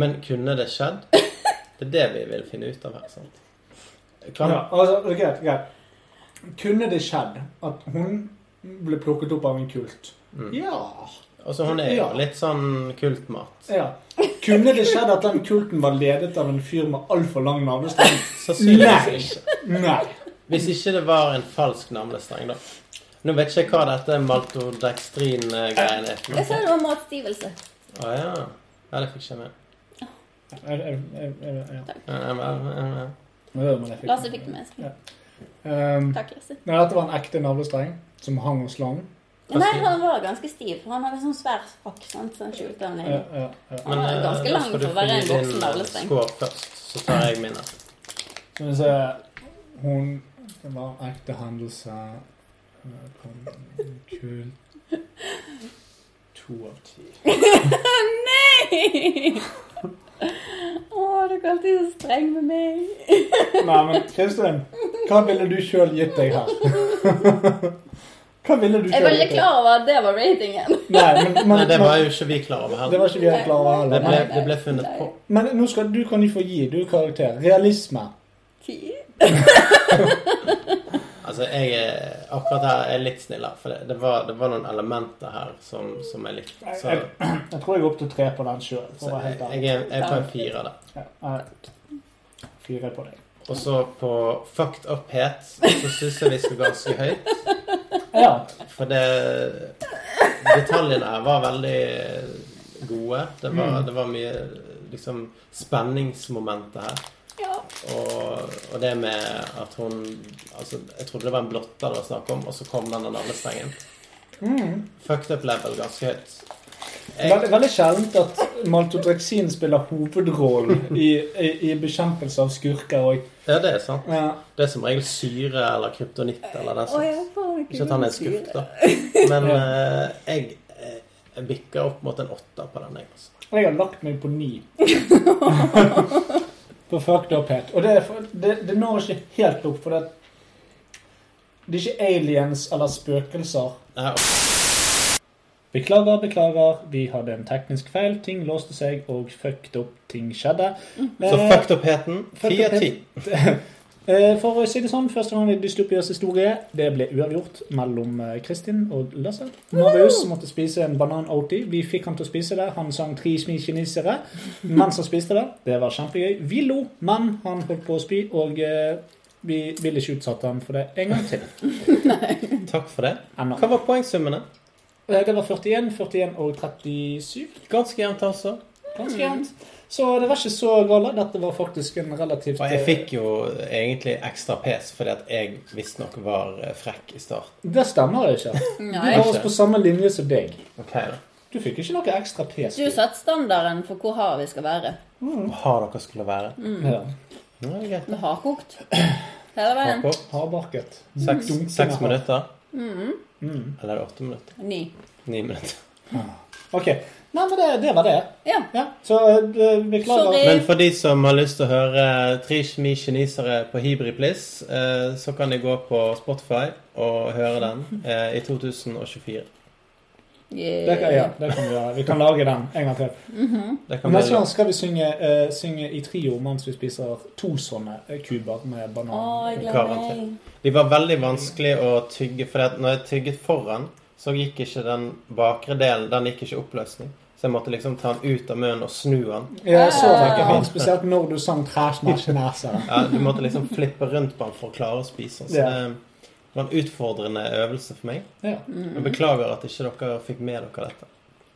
S2: Men kunne det skjedd? Det er det vi vil finne ut av her. sant? Kan,
S3: Ja, altså, ok, ok. Kunne det skjedd at hun ble plukket opp av en kult? Ja.
S2: Altså, hun er jo
S3: Ja.
S2: litt sånn kultmat.
S3: ja. Kunne det skjedd at den kulten var ledet av en fyr med altfor lang navnestreng? Nei.
S2: Sannsynligvis ikke.
S3: Nei.
S2: Hvis ikke det var en falsk navlestreng, da. Nå vet ikke jeg hva dette maltodekstrin-greiene er. for
S4: Jeg sa
S2: noe.
S4: det var matstivelse.
S2: Å ja. ja. Det fikk jeg ikke med.
S3: Jeg- jeg- jeg- jeg- ja.
S2: Ja, ja, ja, ja.
S3: Nå hører man det.
S4: Lasse fikk det med seg.
S3: Um,
S4: Takk, Lasse.
S3: Nei, dette var en ekte navlestreng som hang hos slangen.
S4: Nei, han var ganske stiv. for Han hadde sånn svær frakk sant, som skjulte han
S3: Ja,
S4: ned.
S3: ja, ja.
S4: Han var
S2: eh,
S4: ganske
S2: da
S4: lang
S2: skal du
S4: for å være
S2: få gi
S4: en
S2: din,
S4: voksen
S2: eh,
S4: navlestreng.
S2: Skår først, så tar jeg mine.
S3: Skal vi se Hun Det var en ekte hendelse. Eh, Kom kul To av ti.
S4: Nei! Å, du er alltid så streng med meg.
S3: Nei, men Kristin, hva ville du sjøl gitt deg her? Hva ville du
S4: Jeg
S3: sjøl
S4: var ikke klar over at det var ratingen.
S3: Nei, men, men,
S2: Nei, det var
S3: men,
S2: jo ikke vi klar over
S3: det
S2: heller.
S3: var ikke vi helt klar over
S2: Det
S3: heller.
S2: ble,
S3: Men,
S2: det ble funnet på.
S3: men nå skal du kan jo få gi. Du er karakter. Realisme.
S4: Ti.
S2: Altså, jeg er akkurat her er litt snillere, for det, det, var, det var noen elementer her som, som jeg likte. Så,
S3: Jeg, jeg, jeg tror jeg er opp til tre på den sjøl.
S2: så jeg, jeg, er, jeg er på en fire der.
S3: Fire på deg.
S2: Og så på fucked up-het så syns jeg vi skal ganske høyt.
S3: Ja.
S2: For det Detaljene her var veldig gode. Det var, det var mye liksom spenningsmomentet her.
S4: Ja.
S2: Og, og det med at hun Altså, jeg trodde det var en blotter det var snakk om, og så kom denne navlestrengen.
S3: Mm.
S2: Fucked up level ganske høyt.
S5: Veldig, veldig sjeldent at maltodreksin spiller hovedrollen i, i, i bekjempelse av skurker. Og,
S2: Ja, det er sant.
S5: ja.
S2: Det er som regel syre eller kryptonitt eller den
S4: Å, jeg
S2: slags.
S4: får ikke
S2: Altså, Ikke at han er en
S4: syre.
S2: skurk, da. Men eh, jeg, eh, jeg bikker opp mot en åtter på den. Jeg, altså.
S5: Jeg har lagt meg på ni. på fucked up-het. Og det, er for- det, det når ikke helt opp, for det, det er ikke aliens eller spøkelser.
S2: Nei,
S3: Beklager, beklager. Vi hadde en teknisk feil. Ting låste seg, og fucked up ting skjedde.
S2: Så fucked up-heten
S3: fucked
S2: ti av
S3: up-heten.
S2: ti.
S3: Eh, For å si det sånn, første gang i Dystopias historie, det ble uavgjort mellom eh, Kristin og Lasse. Marius måtte spise en banan-OT. Vi fikk han til å spise det. Han sang tre smi kinesere mens han spiste det. Det var kjempegøy. Vi lo, men han holdt på å spy, og eh, vi ville ikke utsatt han for det en gang til.
S2: Takk for det.
S3: Ennå.
S2: Hva var poengsummene?
S3: Eh, Det var 41, 41 og 37.
S2: Ganske jevnt, altså.
S3: Ganske jevnt. Så det var ikke så galt. Dette var faktisk en relativt
S2: Og jeg fikk jo egentlig ekstra pes fordi at jeg visstnok var eh, frekk i start.
S3: Det stemmer ikke. Du
S4: Nei.
S3: var oss på samme linje som deg.
S2: Ok da.
S3: Du fikk ikke noe ekstra PS.
S4: Du satte standarden for hvor hard vi skal være.
S2: Hva dere skulle være.
S3: Ja.
S2: Nå er det greit.
S4: Det har kokt. Hele veien.
S2: Bakpå.
S3: Hardbarket.
S2: Seks,
S3: Dunkende
S2: seks
S3: hardt.
S2: minutter.
S4: Mm-hmm.
S3: Mm.
S2: Eller er det åtte minutter?
S4: Ni.
S2: Ni minutter.
S3: OK. Nei, men det, det var det.
S4: Ja.
S3: Ja. Så eh, beklager.
S4: Sorry.
S2: Men for de som har lyst til å høre Trishmi kinesere på Hibripliss, eh, så kan de gå på Spotify og høre den eh, i 2024.
S3: Det kan, ja,
S4: Yeah.
S3: det kan vi gjøre. Vi kan lage den en gang til.
S4: Mm-hmm.
S2: Det kan
S3: Neste
S2: bli
S3: gang skal vi synge, eh, synge i trio mens vi spiser to sånne eh, kuber med banan.
S4: Å, jeg gleder meg.
S2: Garantert. De var veldig vanskelig å tygge, for at når jeg tygget foran, så gikk ikke den bakre delen den gikk ikke i oppløsning. Så jeg måtte liksom ta den ut av munnen og snu den.
S3: Ja, jeg så det ikke
S4: Ah.
S3: han, spesielt når du sang Trash Mash Nasa.
S2: Ja, du måtte liksom flippe rundt på den for å klare å spise den. Så
S3: Ja.
S2: det var en utfordrende øvelse for meg.
S3: Ja.
S4: Mm-hmm.
S2: Jeg beklager at ikke dere fikk med dere dette.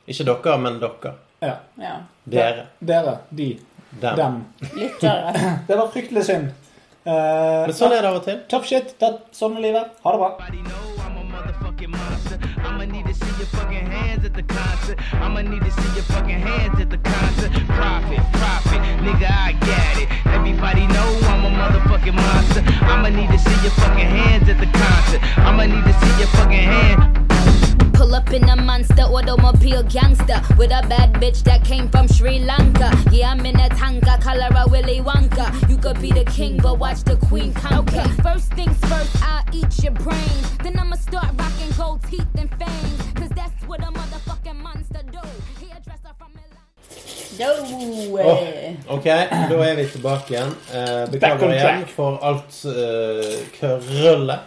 S2: Ikke dere, men dere.
S3: ja.
S4: Ja.
S2: Dere.
S3: Dere, de,
S2: Dem.
S3: dem.
S4: Lyttere.
S3: Det var fryktelig synd. Eh,
S2: Men sånn er det av og til.
S3: Tough shit. Det, sånn er livet. Ha det bra.
S6: Everybody know I'm a motherfucking monster. I'ma need to see your fucking hands at the concert. I'ma need to see your fucking hands at the concert. Profit, profit, nigga, I got it. Everybody know I'm a motherfucking monster. I'ma need to see your fucking hands at the concert. I'ma need to see your fucking hands.
S7: Pull up in a monster automobile gangster with a bad bitch that came from Sri Lanka. Yeah, I'm in a tanka, color a Willy Wonka. You could be the king, but watch the queen conquer. Okay, first things first, I'll eat your brains. Then I'ma start rocking gold teeth and fangs. Cause that's what a motherfucking monster do. Hairdresser from Milan.
S4: Do.
S2: Åh, ok, da er vi tilbake igjen. Eh,
S3: Back on
S2: beklager igjen
S3: track.
S2: for alt eh, krøllet.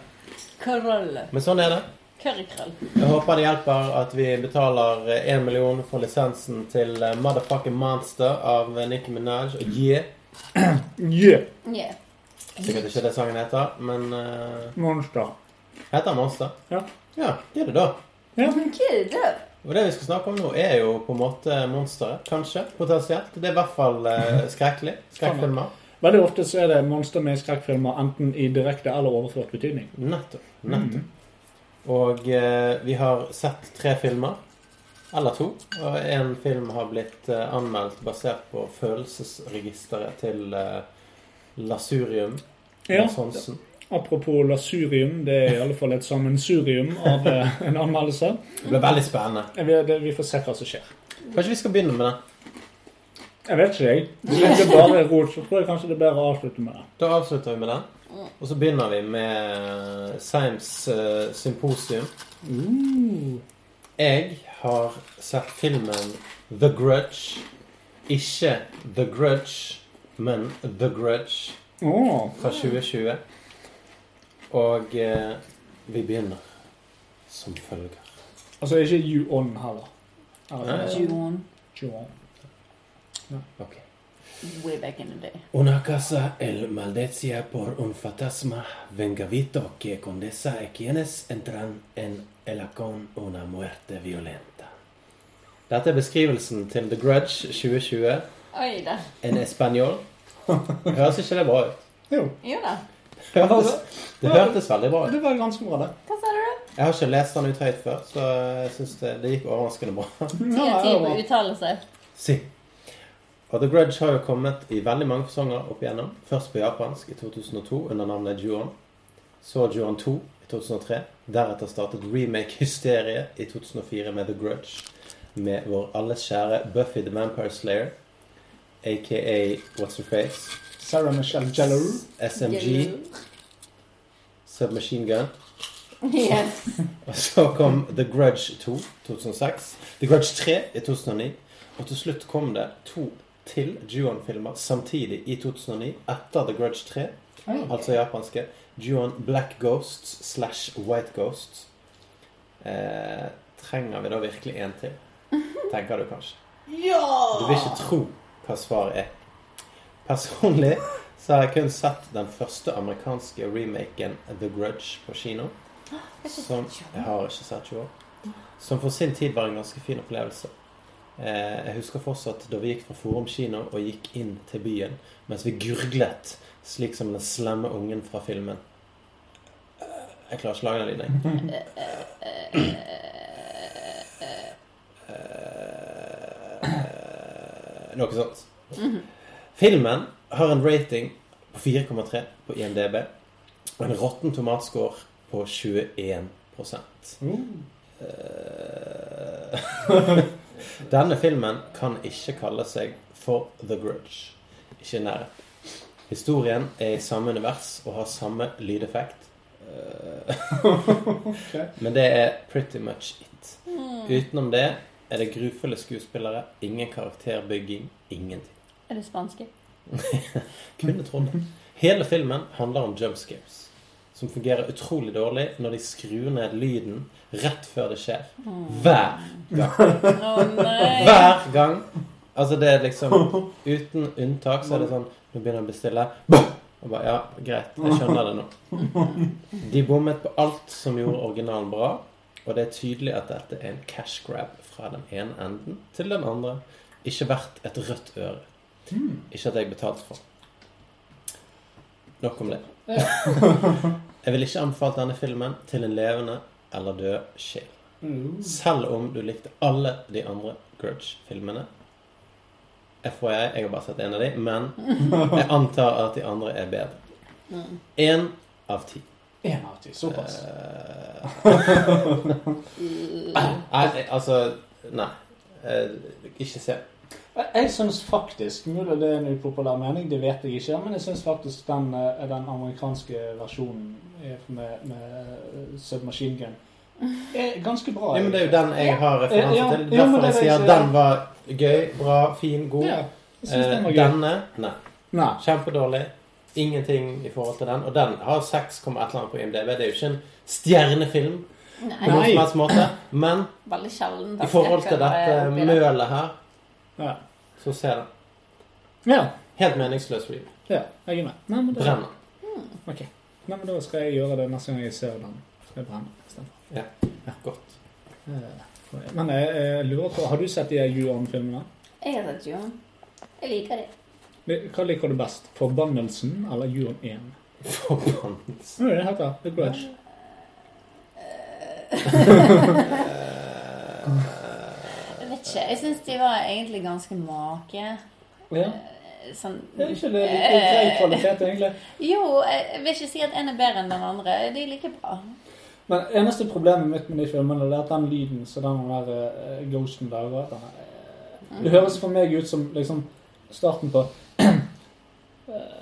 S4: Krøll.
S2: Men sånn er det.
S4: Currykrøll.
S2: Jeg håper det hjelper at vi betaler én million for lisensen til eh, Motherfucking Monster av Nicki Minaj og Yeah.
S3: Yeah.
S4: Yeah.
S2: Sikkert ikke det sangen heter, men eh,
S3: Monster.
S2: heter den Monster?
S3: Ja.
S2: Ja, gjør det da.
S4: Kid up.
S2: Og det vi skal snakke om nå, er jo på en måte monsteret. Kanskje. Potensielt. Det er i hvert fall eh, skrekkelig. Skrekkfilmer.
S3: Veldig ofte så er det monster med i skrekkfilmer enten i direkte eller overført betydning.
S2: Nettopp. Nettopp. Og eh, vi har sett tre filmer. Eller to. Og én film har blitt eh, anmeldt basert på følelsesregisteret til eh, Lasurium.
S3: Ja.
S2: Lars Hansen.
S3: Apropos lasurium, det er i alle fall et sammensurium av eh, en anmeldelse.
S2: Det ble veldig spennende.
S3: Vi, det, vi får se hva som skjer.
S2: Kanskje vi skal begynne med den?
S3: Jeg vet ikke, jeg. Hvis det bare er rot, så tror jeg kanskje det er bedre å avslutte med det.
S2: Da avslutter vi med den. Og så begynner vi med Seims eh, symposium. Jeg har sett filmen The Grudge. Ikke The Grudge, men The Grudge.
S3: Åh,
S2: fra 2020. Og eh, vi begynner som følger.
S3: Altså ikke You On heller.
S2: Nei.
S3: Eller, eh,
S4: June.
S3: You On.
S2: Ok.
S4: Way back in the day.
S2: Una casa el maldecía por un fantasma vengavito que condesa a quienes entran en ella con una muerte violenta. Dette er beskrivelsen til The Grudge 2020.
S4: Oi da.
S2: En espanjol. Høres ikke det bra ut?
S3: Jo.
S4: Jo da.
S2: Det hørtes, det hørtes veldig bra ut.
S3: Det var ganske bra, det.
S4: Hva sa du?
S2: Jeg har ikke lest den ut høyt før, så jeg syns det, det gikk overraskende bra.
S4: Ti av ti på uttalelse.
S2: Si. Og The Grudge har jo kommet i veldig mange fasonger opp igjennom. Først på japansk i 2002 under navnet Juon. Så Juon 2 i 2003. Deretter startet remake-hysteriet i 2004 med The Grudge. Med vår alles kjære Buffy the Vampire Slayer, aka What's Her Face,
S3: Sarah Michelle Gellar.
S2: SMG, Submachine Gun.
S4: Yes.
S2: Og så kom The Grudge 2 2006, The Grudge 3 i 2009, og til slutt kom det to til Juon-filmer samtidig i 2009 etter The Grudge 3, altså japanske Juon Black Ghosts slash White Ghosts. Eh, trenger vi da virkelig en til? Tenker du kanskje. Du vil ikke tro hva svaret er. Personlig så har jeg kun sett den første amerikanske remaken The Grudge på kino. Som jeg har ikke sett 20 år. Som for sin tid var en ganske fin opplevelse. Eh, jeg husker fortsatt da vi gikk fra Forum kino og gikk inn til byen, mens vi gurglet slik som den slemme ungen fra filmen. Eh, Jeg klarer ikke å lage den lyden. Eh, jeg. Eh, Noe sånt. Filmen har en rating på 4,3 på IMDb og en råtten tomatscore på 21 Eh, Denne filmen kan ikke kalle seg for The Grudge. Ikke i nærheten. Historien er i samme univers og har samme lydeffekt. Eh, Men det er pretty much it.
S4: Hmm.
S2: Utenom det er det grufulle skuespillere, ingen karakterbygging, ingenting.
S4: Er det spanske?
S2: Kunne trodd det. Hele filmen handler om jumpscares. Som fungerer utrolig dårlig når de skrur ned lyden rett før det skjer. Hver gang.
S4: Å nei.
S2: Hver gang! Altså, det er liksom Uten unntak så er det sånn Nå begynner han å bestille. Bom! Og bare Ja, greit. Jeg skjønner det nå. De bommet på alt som gjorde originalen bra. Og det er tydelig at dette er en cash grab fra den ene enden til den andre. Ikke verdt et rødt øre. Ikke at jeg betalte for. Nok om det. jeg vil ikke anbefale denne filmen til en levende eller død sjel.
S3: Uh.
S2: Selv om du likte alle de andre Grudge-filmene. FHI, jeg har bare sett en av de, men jeg antar at de andre er bedre. Én av ti.
S3: Én av ti. Såpass.
S2: Nei, altså Nei. Eh, Ikke se.
S3: Jeg- Jeg syns faktisk, mulig det er en upopulær mening, det vet jeg ikke, men jeg syns faktisk den, eh, den amerikanske versjonen er med, med eh, Submachine Gun er ganske bra.
S2: Ja, men det er jo den jeg har referanse
S3: Ja, ja,
S2: til.
S3: ja, men det
S2: Derfor jeg
S3: er
S2: sier
S3: ikke-
S2: den var gøy, bra, fin, god.
S3: Ja, jeg syns den var
S2: Eh,
S3: gøy.
S2: Denne nei.
S3: Nei.
S2: Kjempedårlig. Ingenting i forhold til den. Og den har 6,1 eller annet på IMDb. Det er jo ikke en stjernefilm på noen
S4: Nei.
S3: Nei.
S2: som helst måte. Men
S4: Veldig sjelden.
S2: i forhold til
S4: eh,
S2: dette mølet her,
S3: Ja.
S2: så ser jeg den.
S3: ja.
S2: Helt meningsløs review.
S3: Ja, jeg er med. Nei, men, da,
S2: Brenn den.
S3: ok. Nei, men da skal jeg gjøre det neste gang jeg ser den. Skal jeg brenne istedenfor.
S2: Godt.
S3: Eh, Men jeg, jeg lurer på, har du sett de Juan-filmene?
S4: Jeg har sett Johan. Jeg liker det.
S3: Hva liker du best? 'Forbannelsen' eller Juan 1?
S2: Forbannelse.
S3: Hva er det det heter? The Grudge.
S4: Jeg vet ikke. Jeg syns de var egentlig ganske make.
S3: Ja.
S4: Sånn
S3: Det er ikke det like grei kvalitet, egentlig.
S4: Jo, jeg jeg vil ikke si at en er bedre enn den andre. De er like bra.
S3: Men eneste problemet mitt med de filmene det er at den lyden så den der eh, ghosten lager at den er,
S4: Mm.
S3: eh, Det høres for meg ut som liksom starten på eh,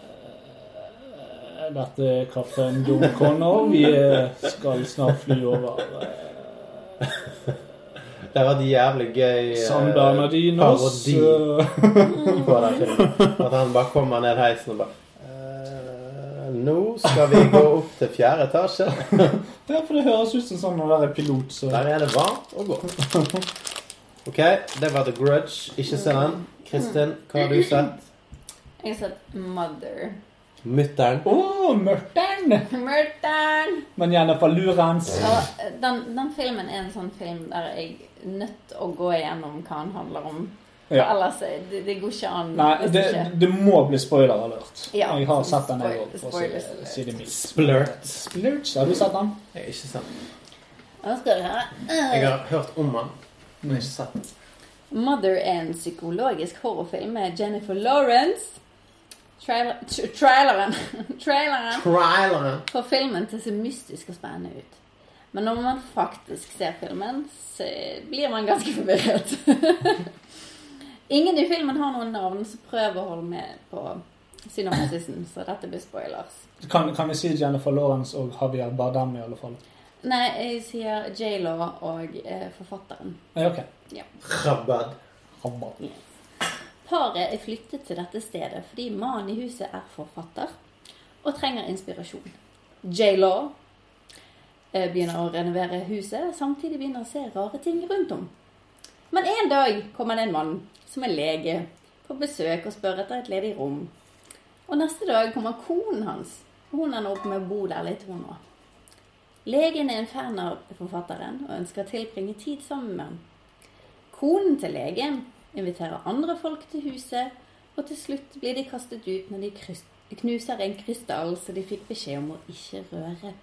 S3: Dette er kaptein John Connor. Vi eh, skal snart fly over eh,
S2: Det har vært jævlig gøy eh,
S3: San Bernardinos.
S2: parodi
S3: eh,
S2: på den filmen. At han bare kommer ned heisen og bare «Eh, Nå skal vi gå opp til fjerde etasje.
S3: Ja, for det høres ut som sånn når det er pilot, så
S2: Der er det varmt og godt. OK, det var The Grudge. Ikke se den. Kristin, hva har du sett?
S4: Mm. Jeg har sett Mother.
S2: Mutter'n.
S3: Å, mørteren!
S4: Murder'n!
S3: Men Jennifer Lurens.
S4: Og eh, den, den filmen er en sånn film der jeg er nødt å gå igjennom hva den handler om. For
S3: Ja.
S4: Ellers er- det, det går ikke an.
S3: Nei,
S4: hvis
S3: det,
S4: ikke-
S3: det må bli spoiler-alert.
S4: Ja,
S3: jeg har sett den, jeg òg, for
S4: spoil-
S3: å si det-
S4: spoilers.
S3: si det mildt.
S2: Splurt.
S3: Splurge, har du sett den?
S2: Ikke sant.
S4: Nå skal du høre.
S2: Jeg har hørt om han, men ikke sett den.
S4: Mother er en psykologisk horrorfilm med Jennifer Lawrence. Trailer, tr- traileren Traileren
S2: Traileren.
S4: får filmen til å se mystisk og spennende ut. Men når man faktisk ser filmen, så blir man ganske forvirret. Ingen i filmen har noen navn, så prøv å holde med på synopsisen, så dette blir spoilers.
S3: Kan, kan vi si Jennifer Lawrence og Javier Bardem i alle fall?
S4: Nei, jeg sier J.Lo og eh, forfatteren.
S3: Ja, ok.
S2: Rabbad.
S3: Rabba.
S4: Paret er flyttet til dette stedet fordi mannen i huset er forfatter og trenger inspirasjon. J.Law eh, begynner å renovere huset, samtidig begynner å se rare ting rundt om. Men en dag kommer det en mann som er lege på besøk og spør etter et ledig rom. Og neste dag kommer konen hans, og hun ender opp med å bo der litt, hun òg. Legen er en fan av forfatteren og ønsker å tilbringe tid sammen med ham. Konen til legen inviterer andre folk til huset, og til slutt blir de kastet ut når de krys- knuser en krystall som de fikk beskjed om å ikke røre.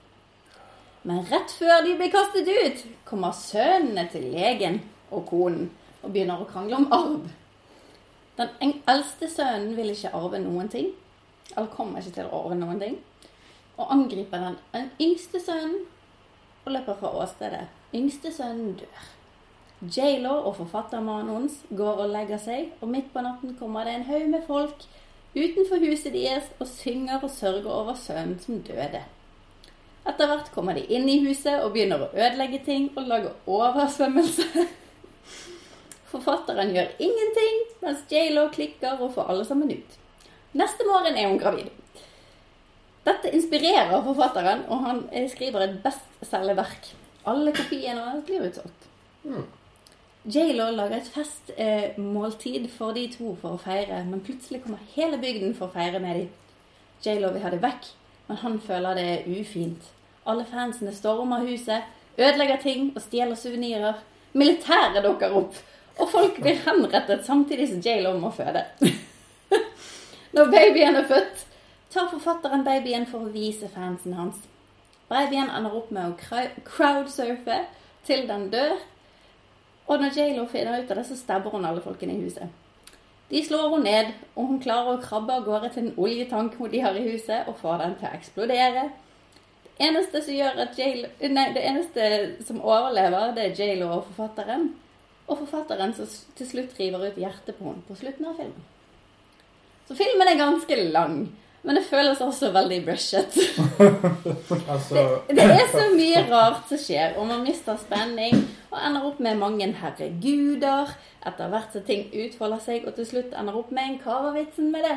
S4: Men rett før de blir kastet ut, kommer sønnene til legen og konen og begynner å krangle om arv. Den eng- eldste sønnen vil ikke arve noen ting, eller kommer ikke til å arve noen ting, og angriper den, den yngste sønnen og løper fra åstedet. Yngste sønnen dør. J.Lo og forfattermannen hans går og legger seg, og midt på natten kommer det en haug med folk utenfor huset deres og synger og sørger over sønnen som døde. Etter hvert kommer de inn i huset og begynner å ødelegge ting og lage oversvømmelse. Forfatteren gjør ingenting, mens J.Lo klikker og får alle sammen ut. Neste morgen er hun gravid. Dette inspirerer forfatteren, og han eh, skriver et bestselgende verk. Alle kopiene hans blir utsolgt. J.Lo lager et festmåltid eh, måltid for de to for å feire, men plutselig kommer hele bygden for å feire med dem. J.Lo vil ha det vekk, men han føler det er ufint. Alle fansene stormer huset, ødelegger ting og stjeler suvenirer. Militæret dukker opp, og folk blir henrettet samtidig som J.Lo må føde. Når babyen er født, tar forfatteren babyen for å vise fansen hans. Babyen ender opp med å crow- crowdsurfe til den dør. Og når J.Lo finner ut av det, så stabber hun alle folkene i huset. De slår henne ned, og hun klarer å krabbe av gårde til en oljetank hun de har i huset, og får den til å eksplodere. Det eneste som, gjør at J.Lo- nei, det eneste som overlever, det er J.Lo og forfatteren. Og forfatteren som s- til slutt river ut hjertet på henne på slutten av filmen. Så filmen er ganske lang, men det føles også veldig rushet.
S2: Altså,
S4: Det, det er så mye rart som skjer, og man mister spenning og ender opp med mange herreguder. Etter hvert som ting utfolder seg, og til slutt ender opp med en Kava-vitsen med det.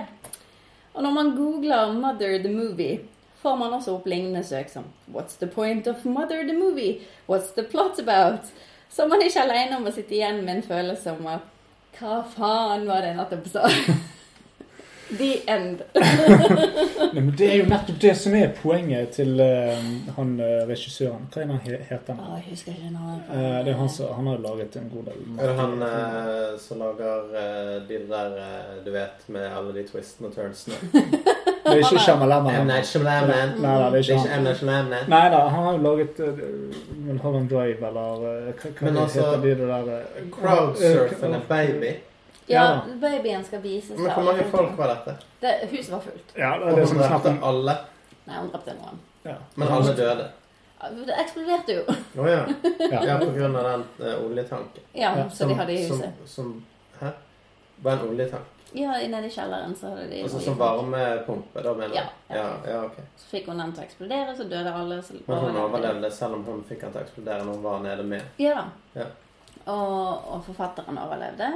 S4: Og når man googler 'Mother the Movie', får man også opp lignende søk som 'What's the point of Mother the Movie'? 'What's the plot about?' Så man er ikke aleine om å sitte igjen med en følelse om at 'Hva faen var det jeg nettopp sa?' The end.
S3: Nei, men det er jo nettopp det som er poenget til eh, han eh, regissøren. Hva er det han he- heter?
S4: Å,
S3: han?
S4: Ah, jeg husker ikke navnet. på
S3: Eh, det er han som Han har laget en god del
S2: er det han eh, som lager eh, de der eh, du vet, med alle de twistene og turnsene?
S3: Det er ikke Shamalama.
S2: M. Night Shyamalan.
S3: Nei, nei, det er
S2: Det er
S3: ikke
S2: ikke M.
S3: han.
S2: Night Shyamalan.
S3: Nei da, han har jo laget eh, Mulholland Drive eller eh, Hva, hva
S2: Men
S3: heter
S2: altså,
S3: de det der eh,
S2: Crowdsurfing en baby.
S4: Ja, babyen skal vises
S2: Men hvor mange folk var dette?
S4: Det, huset var fullt.
S3: Ja, det
S2: Og
S3: er det
S2: hun
S3: som er snakk
S2: drepte
S3: om.
S2: alle.
S4: Nei, hun drepte noen.
S3: Ja.
S2: Men alle døde.
S4: Ja, Det eksploderte jo.
S2: Å ja.
S3: Ja.
S2: Ja, på grunn av den eh, oljetanken.
S4: Ja,
S3: Ja,
S4: så de hadde i huset.
S2: Som, som Hæ? Bare en oljetank?
S4: Ja, nede i kjelleren så hadde de
S2: Altså som varmepumpe, da mener jeg?
S4: Ja.
S2: Ja, ja, ok.
S4: Så fikk hun den til å eksplodere, så døde alle. Så
S2: Men hun overlevde selv om hun fikk han til å eksplodere når hun var nede med.
S4: Ja da.
S2: Ja.
S4: Og, og forfatteren overlevde.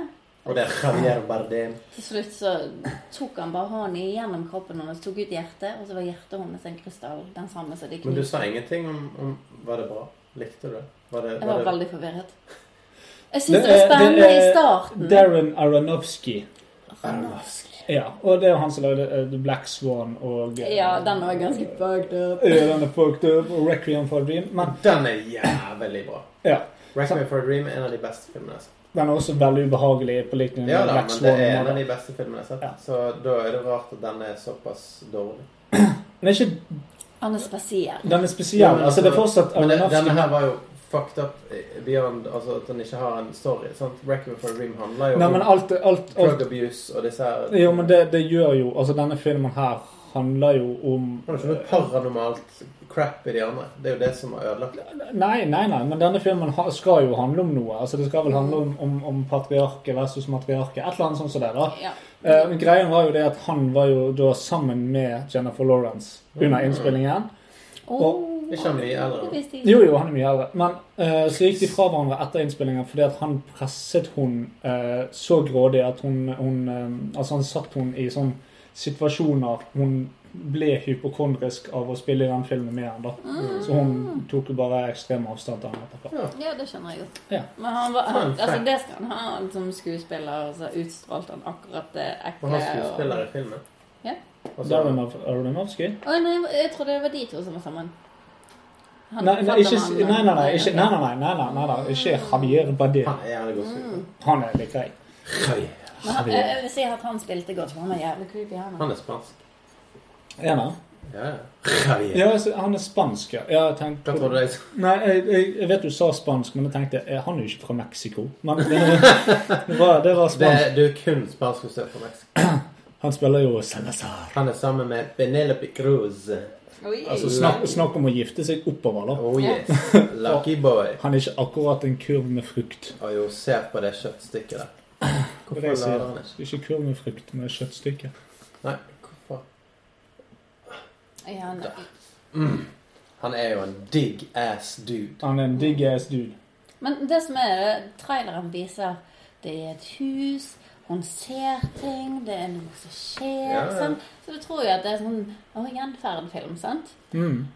S2: Og det er Javier Bardem.
S4: Til slutt så tok han bare hånden gjennom kroppen hennes, tok ut hjertet, og så var hjertet hennes en krystall. Den samme som de
S2: Men du
S4: knuste.
S2: sa ingenting om, om Var det bra? Likte du det? Var det,
S4: Jeg
S2: var
S4: var
S2: det
S4: veldig forvirret. Jeg
S3: Det
S4: syns det var
S3: er- det
S4: spennende i
S3: er
S4: starten.
S3: Darren Aronofsky.
S2: Aronofsky.
S3: Ja, og det er jo han som lagde eh, The Black Swan og eh,
S4: Ja, den var ganske fucked up.
S3: Ja, den er fucked up, og Requiem for a Dream. Men
S2: Den er jævlig bra.
S3: ja,
S2: Rack Me for a Dream er en av de beste filmene jeg har sett.
S3: den er også veldig ubehagelig på linje
S4: Mm,
S3: med
S2: Ja da,
S3: Black
S2: men det
S3: Swan.
S2: er en
S3: og-
S2: av de beste filmene jeg har
S3: Ja.
S2: sett. Så da er det rart at den er såpass dårlig.
S3: Men det er ikke,
S4: Han er spesiell.
S3: den er spesiell.
S2: Ja, men
S3: altså, det er fortsatt
S2: Men det,
S3: Aronofsky.
S2: denne her var jo fucked up beyond Altså at han ikke har en story. Sant? Requiem for a Dream handler jo
S3: Nei, men
S2: om
S3: alt, alt,
S2: drug
S3: alt
S2: abuse og disse her
S3: Jo, men det, det gjør jo Altså, denne filmen her handler jo om
S2: Han har ikke noe paranormalt crap i de andre. Det er jo det som har ødelagt det.
S3: Nei, nei, nei, men denne filmen ha- skal jo handle om noe. Altså, Det skal vel handle om, om, om patriarket versus matriarket. Et eller annet sånt som det. da.
S4: Ja.
S3: Eh, men greien var jo det at han var jo da sammen med Jennifer Lawrence under innspillingen.
S4: Åh,
S2: Ikke han mye eldre.
S4: det visste jeg ikke.
S3: Jo, jo, han er mye eldre. Men eh, så gikk de fra hverandre etter innspillingen fordi at han presset hun eh, så grådig at hun, hun eh, Altså, han satt hun i sånn situasjoner hun ble hypokondrisk av å spille i den filmen med han da. Så hun tok jo bare ekstrem avstand til han etterpå.
S4: Ja, det skjønner jeg jo.
S3: Ja.
S4: Men han var, han,
S2: Fun fact.
S4: altså, det skal han ha han som skuespiller. Så utstrålte han akkurat det ekle.
S2: Men han
S4: og-
S2: skuespiller i filmen.
S4: Ja.
S2: Altså,
S3: Darren Aronofsky?
S4: Å, nei, jeg trodde det var de to som var sammen. Han-
S3: Nei, nei, ikke,
S4: Fattermann,
S3: nei, nei, nei,
S4: han-
S3: ikke, nei, nei, nei, nei, nei, nei, nei, ikke Javier Bardem.
S2: han er jævlig god
S4: Mm.
S2: skuespiller.
S3: Han er litt grei.
S4: Men eh, han- Jeg jeg vil si at han spilte godt, for han var jævlig creepy. Han,
S2: Han er spansk.
S4: eh,
S3: Er han det?
S2: Ja, ja.
S3: Ja, altså, han er spansk, ja. Ja, Jeg
S2: Hva
S3: tenkte,
S2: tror du jeg sa?
S3: nei, jeg, jeg- jeg vet du sa spansk, men jeg tenkte eh, han er jo ikke fra Mexico. Men det var, det var, det var
S2: Det,
S3: spansk.
S2: du er kun spansk hvis du er fra Mexico.
S3: Han spiller jo Salazar.
S2: Han er sammen med Penelope Cruz.
S4: Oi.
S2: Altså,
S3: Snakk, snakk om å gifte seg oppover, da.
S2: Oh yes. Lucky boy.
S3: Han er ikke akkurat en kurv med frukt.
S2: Og jo, se på det kjøttstykket der.
S3: Hva er
S2: Hvorfor
S3: det jeg
S2: lader
S3: sier?
S2: han ikke?
S3: Ikke kurv med frukt, men kjøttstykke.
S2: Nei, hvorfor?
S4: Ja, han,
S2: Han er jo en digg ass dude.
S3: Han er en digg ass dude.
S4: men det som er det, traileren viser Det er et hus, hun ser ting, det er noe som skjer.
S2: Ja, ja.
S4: Sant? Så du tror jo at det er sånn å, gjenferdfilm, sant?
S3: Mm.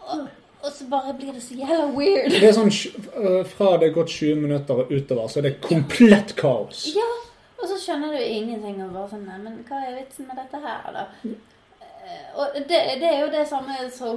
S4: Og, og så bare blir det så jævla weird.
S3: Det er sånn tj- øh, Fra det er gått 20 minutter og utover, så er det komplett kaos.
S4: Ja, og så skjønner du ingenting og bare sånn Nei, men hva er vitsen med dette her, da? Eh, Og det, det er jo det samme som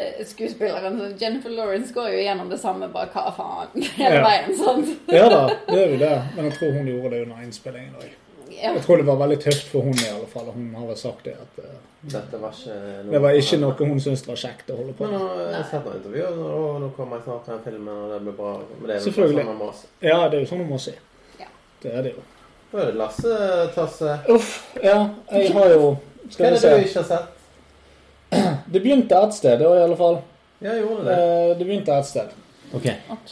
S4: hovedskuespilleren Jennifer Lawrence går jo gjennom det samme, bare hva faen, hele
S3: Ja.
S4: veien. sånn. sant?
S3: Ja da, det er jo det. Men jeg tror hun gjorde det under innspillingen òg.
S4: Ja.
S3: Jeg tror det var veldig tøft for hun i alle fall. og Hun har vel sagt det at øh,
S2: Dette var ikke noe
S3: det var ikke noe hun syntes var kjekt å holde på
S2: Men nå, eh,
S3: med.
S2: jeg har sett noen intervjuer, og nå- nå kommer jeg snart til den filmen, og det blir bra. Men det er vel
S3: Selvfølgelig.
S2: sånn man må se.
S3: Ja, det er jo sånn hun må si.
S4: Ja.
S3: Det er det jo.
S2: Da er det Lasse Tasse.
S3: Uff. Ja, jeg har jo
S2: Hva
S3: Skal
S2: er
S3: vi
S2: det
S3: se.
S2: du ikke har sett?
S3: Det begynte et sted, det var i alle fall.
S2: Ja, jeg gjorde det.
S3: Eh, Det begynte et sted.
S4: Ok.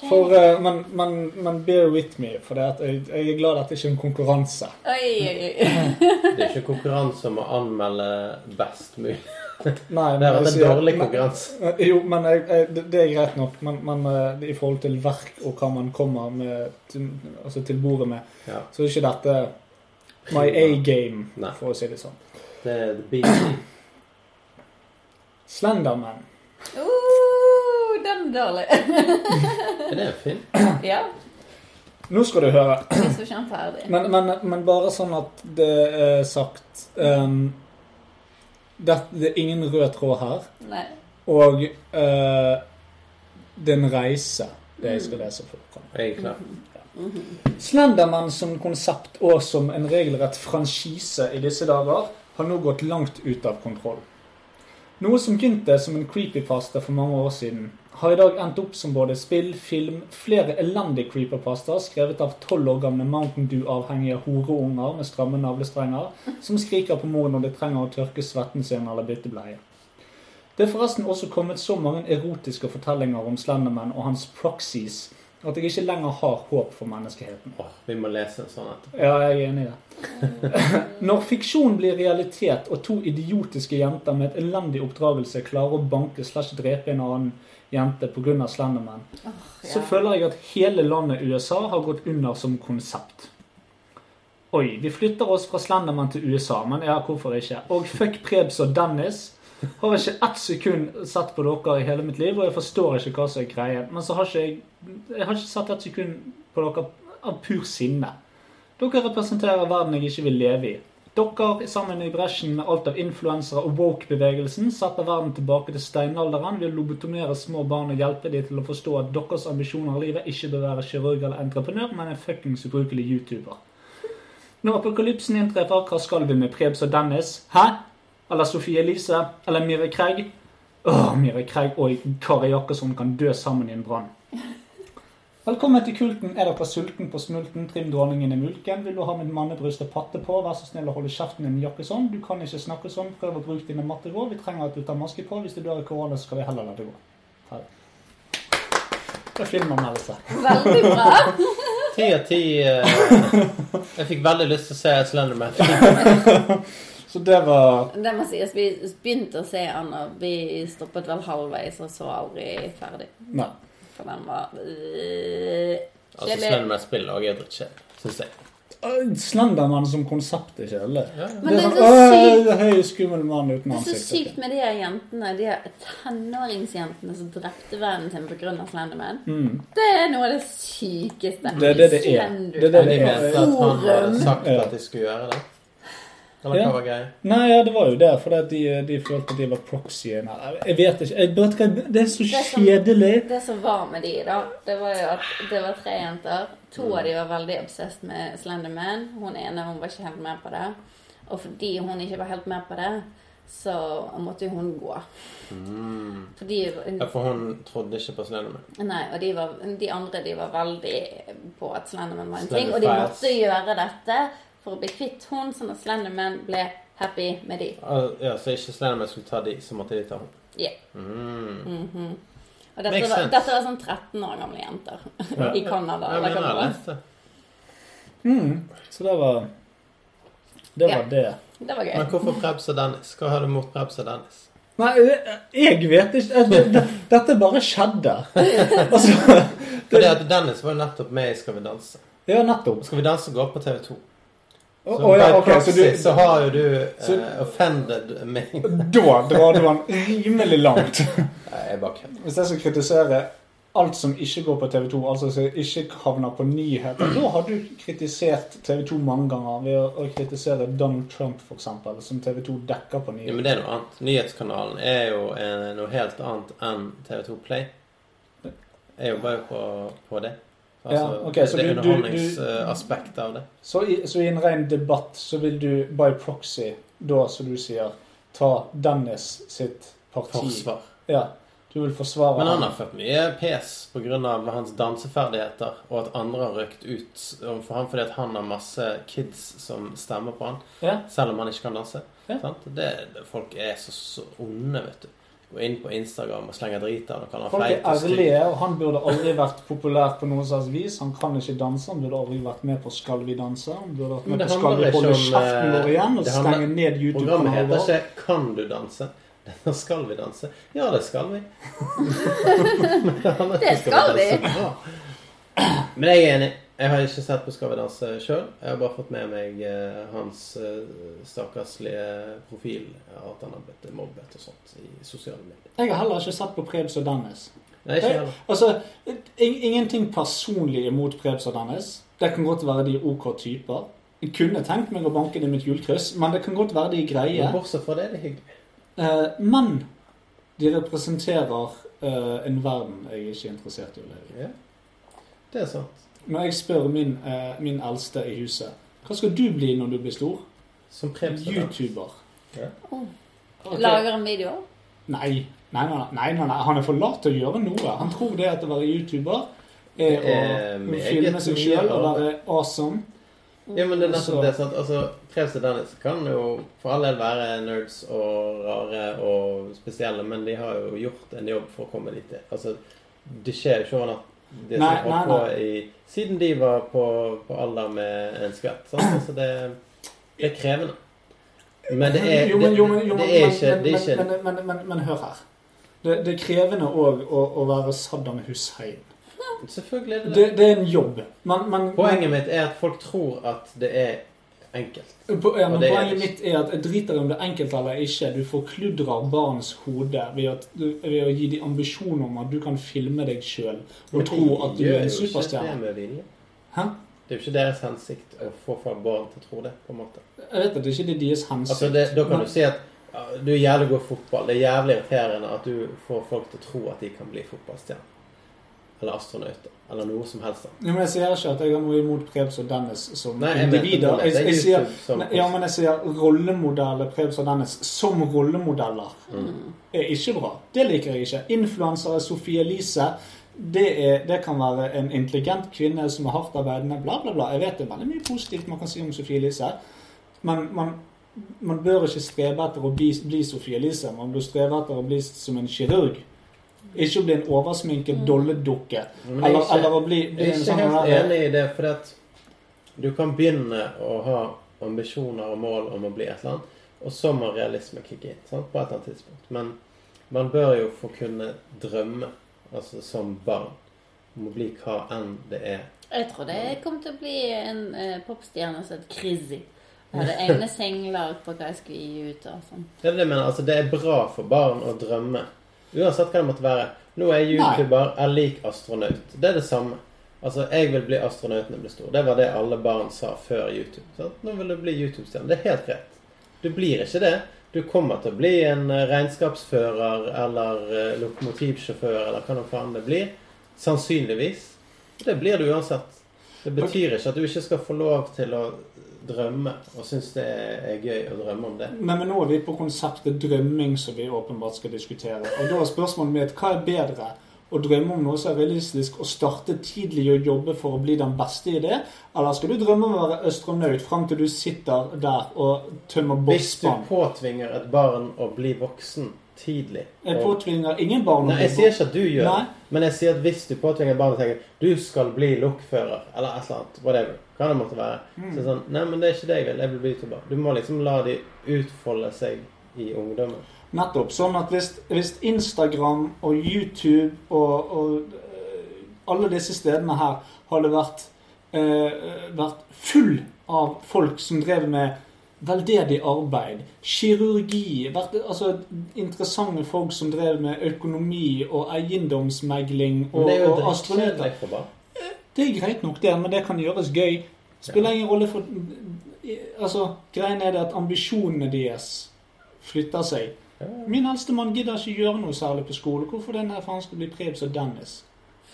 S3: For, eh, men, men, men bear with me, for det at jeg, jeg er glad at det ikke er en konkurranse.
S4: Oi, oi, oi.
S2: Det er ikke konkurranse om å anmelde best mulig.
S3: Nei, men
S2: Det har
S3: jeg
S2: vært en
S3: sier-
S2: dårlig
S3: men-
S2: konkurranse.
S3: Eh, Jo, men jeg, jeg, det- det er greit nok. Men, men eh, i forhold til verk og hva man kommer med, til, altså til bordet med,
S2: Ja.
S3: så er ikke dette my A-game,
S2: Nei.
S3: for å si det sånn.
S2: Det er The Beast.
S3: Slenderman.
S4: Uh, den er dårlig.
S2: Er det en film?
S4: Ja,
S3: Nå skal du høre.
S4: hvis du ikke er ferdig.
S3: Men, men, men bare sånn at det er sagt ehm, det, det er ingen rød tråd her.
S4: Nei.
S3: Og eh, det er en reise, det jeg skal lese for dere.
S2: Jeg er klar.
S3: Slenderman som konsept og som en regelrett franchise i disse dager har nå gått langt ut av kontroll. Noe som begynte som en creepypasta for mange år siden, har i dag endt opp som både spill, film, flere elendige creeperpastaer skrevet av tolv år gamle Mountain Dew-avhengige horeunger med stramme navlestrenger, som skriker på mor når de trenger å tørke svetten sin eller bytte bleie. Det er forresten også kommet så mange erotiske fortellinger om Slenderman og hans proxies at jeg ikke lenger har håp for menneskeheten.
S2: Åh, vi må lese en sånn etterpå.
S3: Ja, jeg er enig i det. Når fiksjon blir realitet, og to idiotiske jenter med et elendig oppdragelse klarer å banke slash drepe en annen jente pga. slendermenn, så føler jeg at hele landet USA har gått under som konsept. Oi, vi flytter oss fra Slenderman til USA, men ja, hvorfor ikke? Og fuck Prebz og Dennis. Har ikke ett sekund sett på dere i hele mitt liv, og jeg forstår ikke hva som er greien. Men så har ikke jeg Jeg har ikke sett ett sekund på dere av pur sinne. Dere representerer verden jeg ikke vil leve i. Dere, sammen i bresjen med alt av influensere og woke-bevegelsen, setter verden tilbake til steinalderen ved å lobotomere små barn og hjelpe dem til å forstå at deres ambisjoner i livet ikke bør være kirurg eller entreprenør, men en fuckings ubrukelig YouTuber. Når apokalypsen inntreffer, hva skal vi med Prebz og Dennis? Hæ? Eller Sofie Elise? Eller Myhre Craig?
S1: Åh,
S3: Mira Craig og Kari Jakkesson kan dø sammen i en brann. Velkommen til Kulten. Er dere sulten på snulten? Trim dronningen i mulken. Vil du ha mitt mannebrust og patte på? Vær så snill å holde kjeften din, Jakkesson. Du kan ikke snakke sånn. Prøv å bruke dine matte råd. Vi trenger at du tar maske på. Hvis du dør av korona, så skal vi heller la det gå. Ferdig. Da filmer man altså. dette.
S4: Veldig bra.
S2: Ti av ti eh, Jeg fikk veldig lyst til å se Slenderman.
S3: Så det var
S4: Det må sies, vi begynte å se han, og vi stoppet vel halvveis og så aldri ferdig.
S3: Nei.
S4: For den var øh,
S2: Altså, Slenderman-spillet også er drittkjedelig, syns jeg.
S3: Øh, Slendermann som konsept er kjedelig.
S4: Men det er så sykt.
S3: sånn øh, høy, skummel mann uten
S4: Det er så
S3: ansikt.
S4: sykt med de her jentene, de her tenåringsjentene som drepte vennen sin pga. Slenderman. Det er noe av det sykeste.
S3: Mm. Det er det det er. Det er det
S2: Men
S3: det
S2: de
S3: er.
S2: mente at han hadde
S4: Forum.
S2: sagt
S3: Ja.
S2: at de skulle gjøre det. Eller
S3: Ja.
S2: hva var greia?
S3: Nei, ja, det var jo det, fordi at de, de følte at de var proxyen her. Jeg vet ikke. Jeg, vet ikke, det er så
S4: Det er sånn-
S3: kjedelig.
S4: Det som var med de, da, det var jo at det var tre jenter. To av de var veldig obsessed med Slenderman. Hun ene hun var ikke helt med på det. Og fordi hun ikke var helt med på det, så måtte jo hun gå. Fordi
S2: Ja, for hun trodde ikke på Slenderman.
S4: Nei, og de, var, de andre de var veldig på at Slenderman var en ting.
S2: Slenderfast.
S4: Og de måtte gjøre dette for å bli kvitt hun, sånn at Slenderman ble happy med de.
S2: Al- Ja, så ikke Slenderman skulle ta de, så måtte de ta henne.
S4: Yeah.
S2: Mm.
S4: Og dette
S2: Makes
S4: var,
S2: sense.
S4: dette var sånn 13 år gamle jenter i Canada.
S2: Jeg mener
S4: eller hva det
S2: jeg
S4: var.
S2: leste.
S3: Mm. Så det var Det var
S4: Ja.
S3: det.
S4: Det var gøy.
S2: Men hvorfor Prebz og Dennis? Hva har du mot Prebz og Dennis?
S3: Nei, jeg vet ikke. Det- det- Dette bare skjedde. Altså,
S2: Fordi at Dennis var jo nettopp med i Skal vi danse.
S3: ja, nettopp.
S2: Skal vi danse går på TV 2.
S3: Å
S2: Så
S3: å, ja,
S2: by
S3: ok, så
S2: proxy
S3: du,
S2: så har jo du eh,
S3: Så-
S2: offended meg.
S3: da drar du den rimelig langt.
S2: Nei, jeg bare kødder.
S3: Hvis jeg skal kritisere alt som ikke går på TV 2, altså som ikke havner på nyheter, da har du kritisert TV 2 mange ganger ved å, å kritisere Donald Trump, f.eks., som TV 2 dekker på
S2: Ja,
S3: nyheter.
S2: men det er noe annet. Nyhetskanalen er jo eh, noe helt annet enn TV2 Play. Jeg jobber jo på, på det. Altså,
S3: Ja, ok, så
S2: det
S3: du-
S2: er
S3: du-
S2: underholdningsaspektet av det.
S3: Så i, så i en ren debatt så vil du by proxy, da som du sier, ta Dennis sitt parti.
S2: Forsvar.
S3: Ja, du vil forsvare
S2: Men han har fått mye pes pga. hans danseferdigheter, og at andre har røkt ut overfor han fordi at han har masse kids som stemmer på han,
S3: Ja.
S2: selv om han ikke kan danse.
S3: Ja.
S2: Sant? Det, det, folk er så, så onde, vet du. Går inn på Instagram og slenger drit av ham.
S3: Folk er ærlige, og han burde aldri vært populær på noe slags vis. Han kan ikke danse, han burde aldri vært med på Skal vi danse. Han burde vært med
S2: Men det
S3: på Skal vi
S2: handler
S3: holde
S2: ikke om, eh,
S3: kjeften vår igjen og
S2: det handler-
S3: stenge ned
S2: Programmet
S3: YouTube-kanalen
S2: heter
S3: vår.
S2: ikke 'Kan du danse'? Da skal vi danse. Ja, det skal vi.
S4: Det skal vi.
S2: danse. Ja. Men jeg er enig. Jeg har ikke sett på 'Skal vi danse' sjøl. Jeg har bare fått med meg eh, hans eh, stakkarslige profil. At han har blitt mobbet og sånt i sosiale medier.
S3: Jeg har heller ikke sett på Prebz og Dennis.
S2: Nei, ikke heller.
S3: Altså, in ingenting personlig imot Prebz og Dennis. Det kan godt være de er OK typer. Jeg kunne tenkt meg å banke dem i et julekryss, men det kan godt være de er greie.
S2: Men bortsett fra det, det er hyggelig.
S3: Eh, men de representerer eh, en verden jeg er ikke interessert i å leve i.
S2: Ja. Det er sant.
S3: Når jeg spør min, eh, min eldste i huset hva skal du bli når du blir stor?
S2: Som Prebz og Dennis.
S3: YouTuber.
S4: Oh.
S3: Ok.
S4: Lager en video.
S3: Nei. Nei, nei, nei, nei, nei, han er for lat til å gjøre noe. Han tror det at å være YouTuber er å
S2: Eh, meget
S3: filme seg
S2: mye
S3: sjøl og
S2: arbeid.
S3: være awesome.
S2: Ja, men det er nettopp
S3: Så-
S2: det. sant? Altså, Prebz og Dennis kan jo for all del være nerds og rare og spesielle, men de har jo gjort en jobb for å komme dit. Altså, det skjer jo ikke over natt. Det som
S3: Nei,
S2: har
S3: nei,
S2: holdt på i, siden de var på, på alder med en skvett. Sant? Altså, det, det er krevende. Men det er,
S3: Jo,
S2: det,
S3: men- jo, men- jo, men-
S2: det er ikke,
S3: men-
S2: det er
S3: men-
S2: ikke
S3: men- men- men- Men hør her. Det, det er krevende òg å, å være Saddam Hussein.
S2: Selvfølgelig er det det.
S3: Det, det er en jobb. Men, men,
S2: Poenget mitt er at folk tror at det er enkelt.
S3: Po- ja,
S2: Og
S3: men
S2: det er
S3: poenget
S2: det
S3: mitt er at jeg driter i om det er enkelt eller ikke. Du forkludrer barns hode ved, at, du- ved å gi dem ambisjoner om at du kan filme deg sjøl og tro at du
S2: gjør
S3: er en
S2: jo ikke Det,
S3: superstjerne.
S2: med vilje.
S3: Hæ?
S2: det er jo ikke deres hensikt å få fra barn til å tro det, på en måte.
S3: Jeg vet at det ikke er deres hensikt.
S2: Altså, det, da kan
S3: men-
S2: du si at ja, du er jævlig god i fotball. Det er jævlig irriterende at du får folk til å tro at de kan bli fotballstjerner. Og eller astronauter eller noe som helst.
S3: Ja, men jeg sier ikke at jeg har noe imot Prebz og Dennis som
S2: Nei, jeg
S3: individer.
S2: mente-
S3: Jeg, jeg,
S2: det er
S3: sier,
S2: YouTube som-
S3: nei, ja, men jeg sier rollemodeller Prebz og Dennis som rollemodeller er ikke bra. Det liker jeg ikke. Influensere Sophie Elise det, er, det kan være en intelligent kvinne som er hardtarbeidende, bla, bla, bla. Jeg vet det er veldig mye positivt man kan si om Sophie Elise, men man, man bør ikke strebe etter å bli, bli Sophie Elise. Man bør strebe etter å bli som en kirurg. Ikke å bli en oversminket dolledukke.
S2: Men jeg er
S3: Eller,
S2: ikke-
S3: eller å bli, bli
S2: Jeg er
S3: en
S2: ikke
S3: sånn
S2: helt
S3: der-
S2: enig i det, for at du kan begynne å ha ambisjoner og mål om å bli et eller annet, og så må realisme kicke inn sant? på et eller annet tidspunkt. Men man bør jo få kunne drømme, altså som barn, om å bli hva enn det er.
S4: Jeg tror det kom til å bli en eh, popstjerne som het Krizzy. Jeg hadde egne sengler på hva jeg skulle gi ut og sånn.
S2: Det er det jeg mener. Altså, det er bra for barn å drømme. Uansett hva det måtte være. Nå er jeg YouTuber, jeg liker astronaut. Det er det samme. Altså, Jeg vil bli astronaut når jeg blir stor. Det var det alle barn sa før YouTube. Sant? Nå vil du bli YouTube-stjerne. Det er helt greit. Du blir ikke det. Du kommer til å bli en eh, regnskapsfører eller eh, lokomotivsjåfør eller hva nå faen det blir. Sannsynligvis. Det blir du uansett. Det betyr ikke at du ikke skal få lov til å drømme og synes det er gøy å drømme om det.
S3: Nei, eh, men nå er vi på konseptet drømming som vi åpenbart skal diskutere. Og da er spørsmålet mitt hva er bedre? Å drømme om noe som er realistisk, og starte tidlig å jobbe for å bli den beste i det? Eller skal du drømme om å være astronaut fram til du sitter der og tømmer
S2: Hvis du
S3: bosspann?
S2: påtvinger et barn å bli voksen tidlig
S3: Jeg
S2: og-
S3: påtvinger ingen barn å
S2: Nei, jeg
S3: bli
S2: sier ikke at du gjør
S3: Nei.
S2: det, men jeg sier at hvis du påtvinger barn å tenke du skal bli lokfører eller et eller annet, whatever, hva det måtte være, så er
S3: Hmm.
S2: det sånn Nei, men det er ikke det jeg vil. Jeg vil bli YouTuber. Du må liksom la de utfolde seg i ungdommen.
S3: Nettopp. Sånn at hvis, hvis Instagram og YouTube og, og eh, alle disse stedene her hadde vært, eh, vært full av folk som drev med veldedig arbeid, kirurgi vært, altså Interessante folk som drev med økonomi og eiendomsmegling
S2: Men
S3: og,
S2: det er jo
S3: og astronauter.
S2: dritkjedelig for barn.
S3: Det er greit nok, det, men det kan gjøres gøy. Spiller ingen rolle for Altså, greien er det at ambisjonene deres flytter seg. Min eldste mann gidder ikke gjøre noe særlig på skole. Hvorfor den der faen skal bli Prebz og Dennis?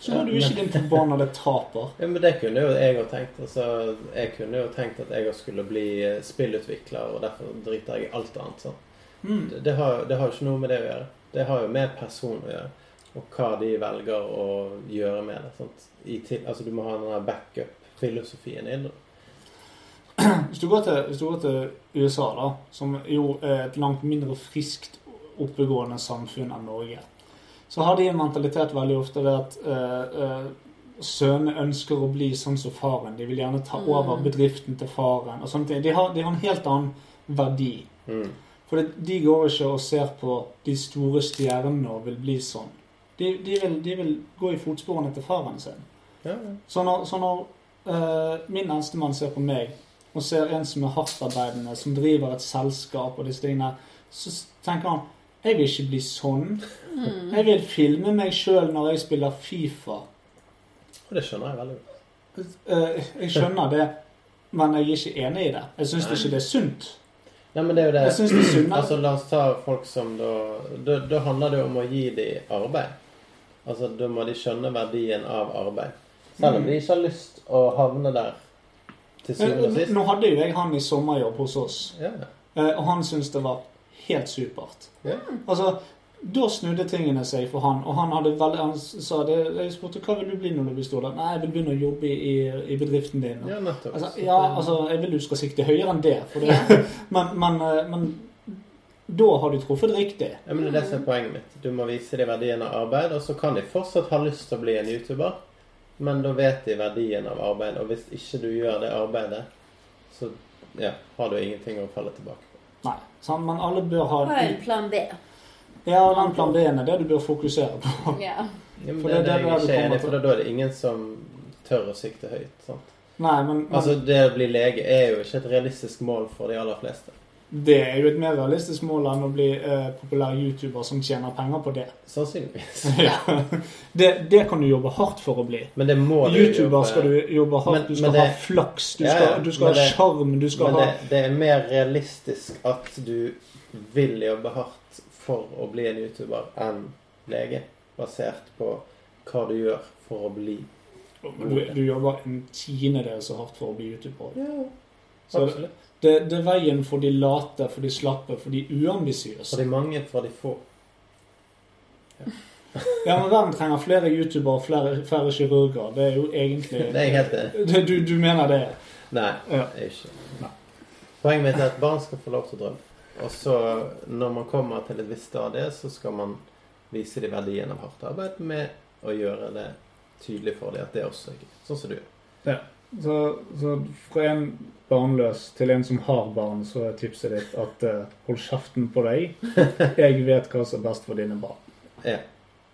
S3: Så må du ikke din forbannede taper.
S2: Ja, men det kunne jo jeg òg tenkt. Altså, jeg kunne jo tenkt at jeg også skulle bli eh, spillutvikler, og derfor driter jeg i alt annet. Sant? Det, det, har, det har jo ikke noe med det å gjøre. Det har jo med person å gjøre. Og hva de velger å gjøre med det. Sant? I til, altså, du må ha den der backup-filosofien inn. da.
S3: Hvis du, går til, hvis du går til USA, da, som jo er et langt mindre friskt oppegående samfunn enn Norge, så har de en mentalitet veldig ofte det at eh, eh, sønnene ønsker å bli sånn som faren. De vil gjerne ta over bedriften til faren. og sånne ting. De har, de har en helt annen verdi.
S2: Mm.
S3: For det, de går ikke og ser på de store stjernene og vil bli sånn. De, de, vil, de vil gå i fotsporene til faren sin.
S2: Ja, ja.
S3: Så når, så når eh, min eldstemann ser på meg, og ser en som er hardtarbeidende, som driver et selskap og disse tingene, så s- tenker han jeg vil ikke bli sånn. Jeg vil filme meg sjøl når jeg spiller Fifa.
S2: Og det skjønner jeg veldig godt.
S3: Eh, jeg skjønner det, men jeg er ikke enig i det. Jeg syns ikke det er sunt.
S2: Nei, men det er jo det.
S3: Jeg synes det er synd, da.
S2: altså, la oss ta folk som da, da Da handler det jo om å gi dem arbeid. Altså, da må de skjønne verdien av arbeid. Selv om de ikke har lyst å havne der til syvende og
S3: Eh,
S2: sist.
S3: Nå hadde jo jeg han i sommerjobb hos oss.
S2: Ja.
S3: Eh, Og han syntes det var helt supert.
S2: Ja.
S3: Altså, da snudde tingene seg for han, og han hadde veldig Han sa det Jeg spurte hva vil du bli når du blir stor. da?» Nei, jeg vil begynne å jobbe i, i bedriften din.
S2: ja, nettopp.
S3: Altså,
S2: Så
S3: ja,
S2: det-
S3: altså, jeg vil du skal sikte høyere enn det. For det men, men, eh, men da har du truffet riktig.
S2: Ja, men det er det som er poenget mitt. Du må vise dem verdien av arbeid, og så kan de fortsatt ha lyst til å bli en YouTuber, men da vet de verdien av arbeid, og hvis ikke du gjør det arbeidet, så ja, har du ingenting å falle tilbake på.
S3: Nei. Sant? Men alle bør ha
S4: Ha en plan B.
S3: Ja, og den plan B-en er det du bør fokusere på.
S4: Ja.
S2: Ja, men
S3: For
S2: det,
S3: det er
S2: er det
S3: der
S2: jeg
S3: du
S2: ikke er
S3: kommer
S2: enig i, for
S3: til.
S2: da er det ingen som tør å sikte høyt. sant?
S3: Nei, men, men
S2: Altså, Det å bli lege er jo ikke et realistisk mål for de aller fleste.
S3: det er jo et mer realistisk mål enn å bli eh, populær YouTuber som tjener penger på det.
S2: Sannsynligvis.
S3: Ja. Det, det kan du jobbe hardt for å bli.
S2: Men det må du
S3: YouTuber
S2: jobbe-
S3: skal du jobbe hardt.
S2: Men-
S3: Du skal
S2: men det-
S3: ha flaks. Du
S2: Ja, ja,
S3: skal, du skal
S2: men
S3: ha
S2: det-
S3: sjarm. Du skal
S2: Men
S3: ha
S2: det, det er mer realistisk at du vil jobbe hardt for å bli en YouTuber enn lege, basert på hva du gjør for å bli
S3: Du, du jobber en tiendedel så hardt for å bli youtuber.
S2: Ja,
S3: Så
S2: absolutt.
S3: det, det er veien for de late, for de slappe, for de
S2: Fra
S3: uambisiøse.
S2: de mange, fra de få.
S3: Ja, men verden trenger flere youtubere og flere, færre kirurger. Det er jo egentlig
S2: Det er jeg helt enig i.
S3: Det- Du, du mener det?
S2: Nei,
S3: Ja.
S2: det er ikke. Poenget mitt er at barn skal få lov til å drømme. Og så, når man kommer til et visst stadie, så skal man vise dem verdien av hardt arbeid med å gjøre det tydelig for dem at det er også er gøy. Sånn som du gjør.
S3: Så, så fra en barnløs til en som har barn, så er tipset ditt at eh, hold kjeften på deg. Jeg vet hva som er best for dine barn.
S2: Ja.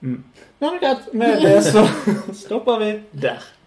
S3: Mm. Nei, men greit. Med det så stopper vi der.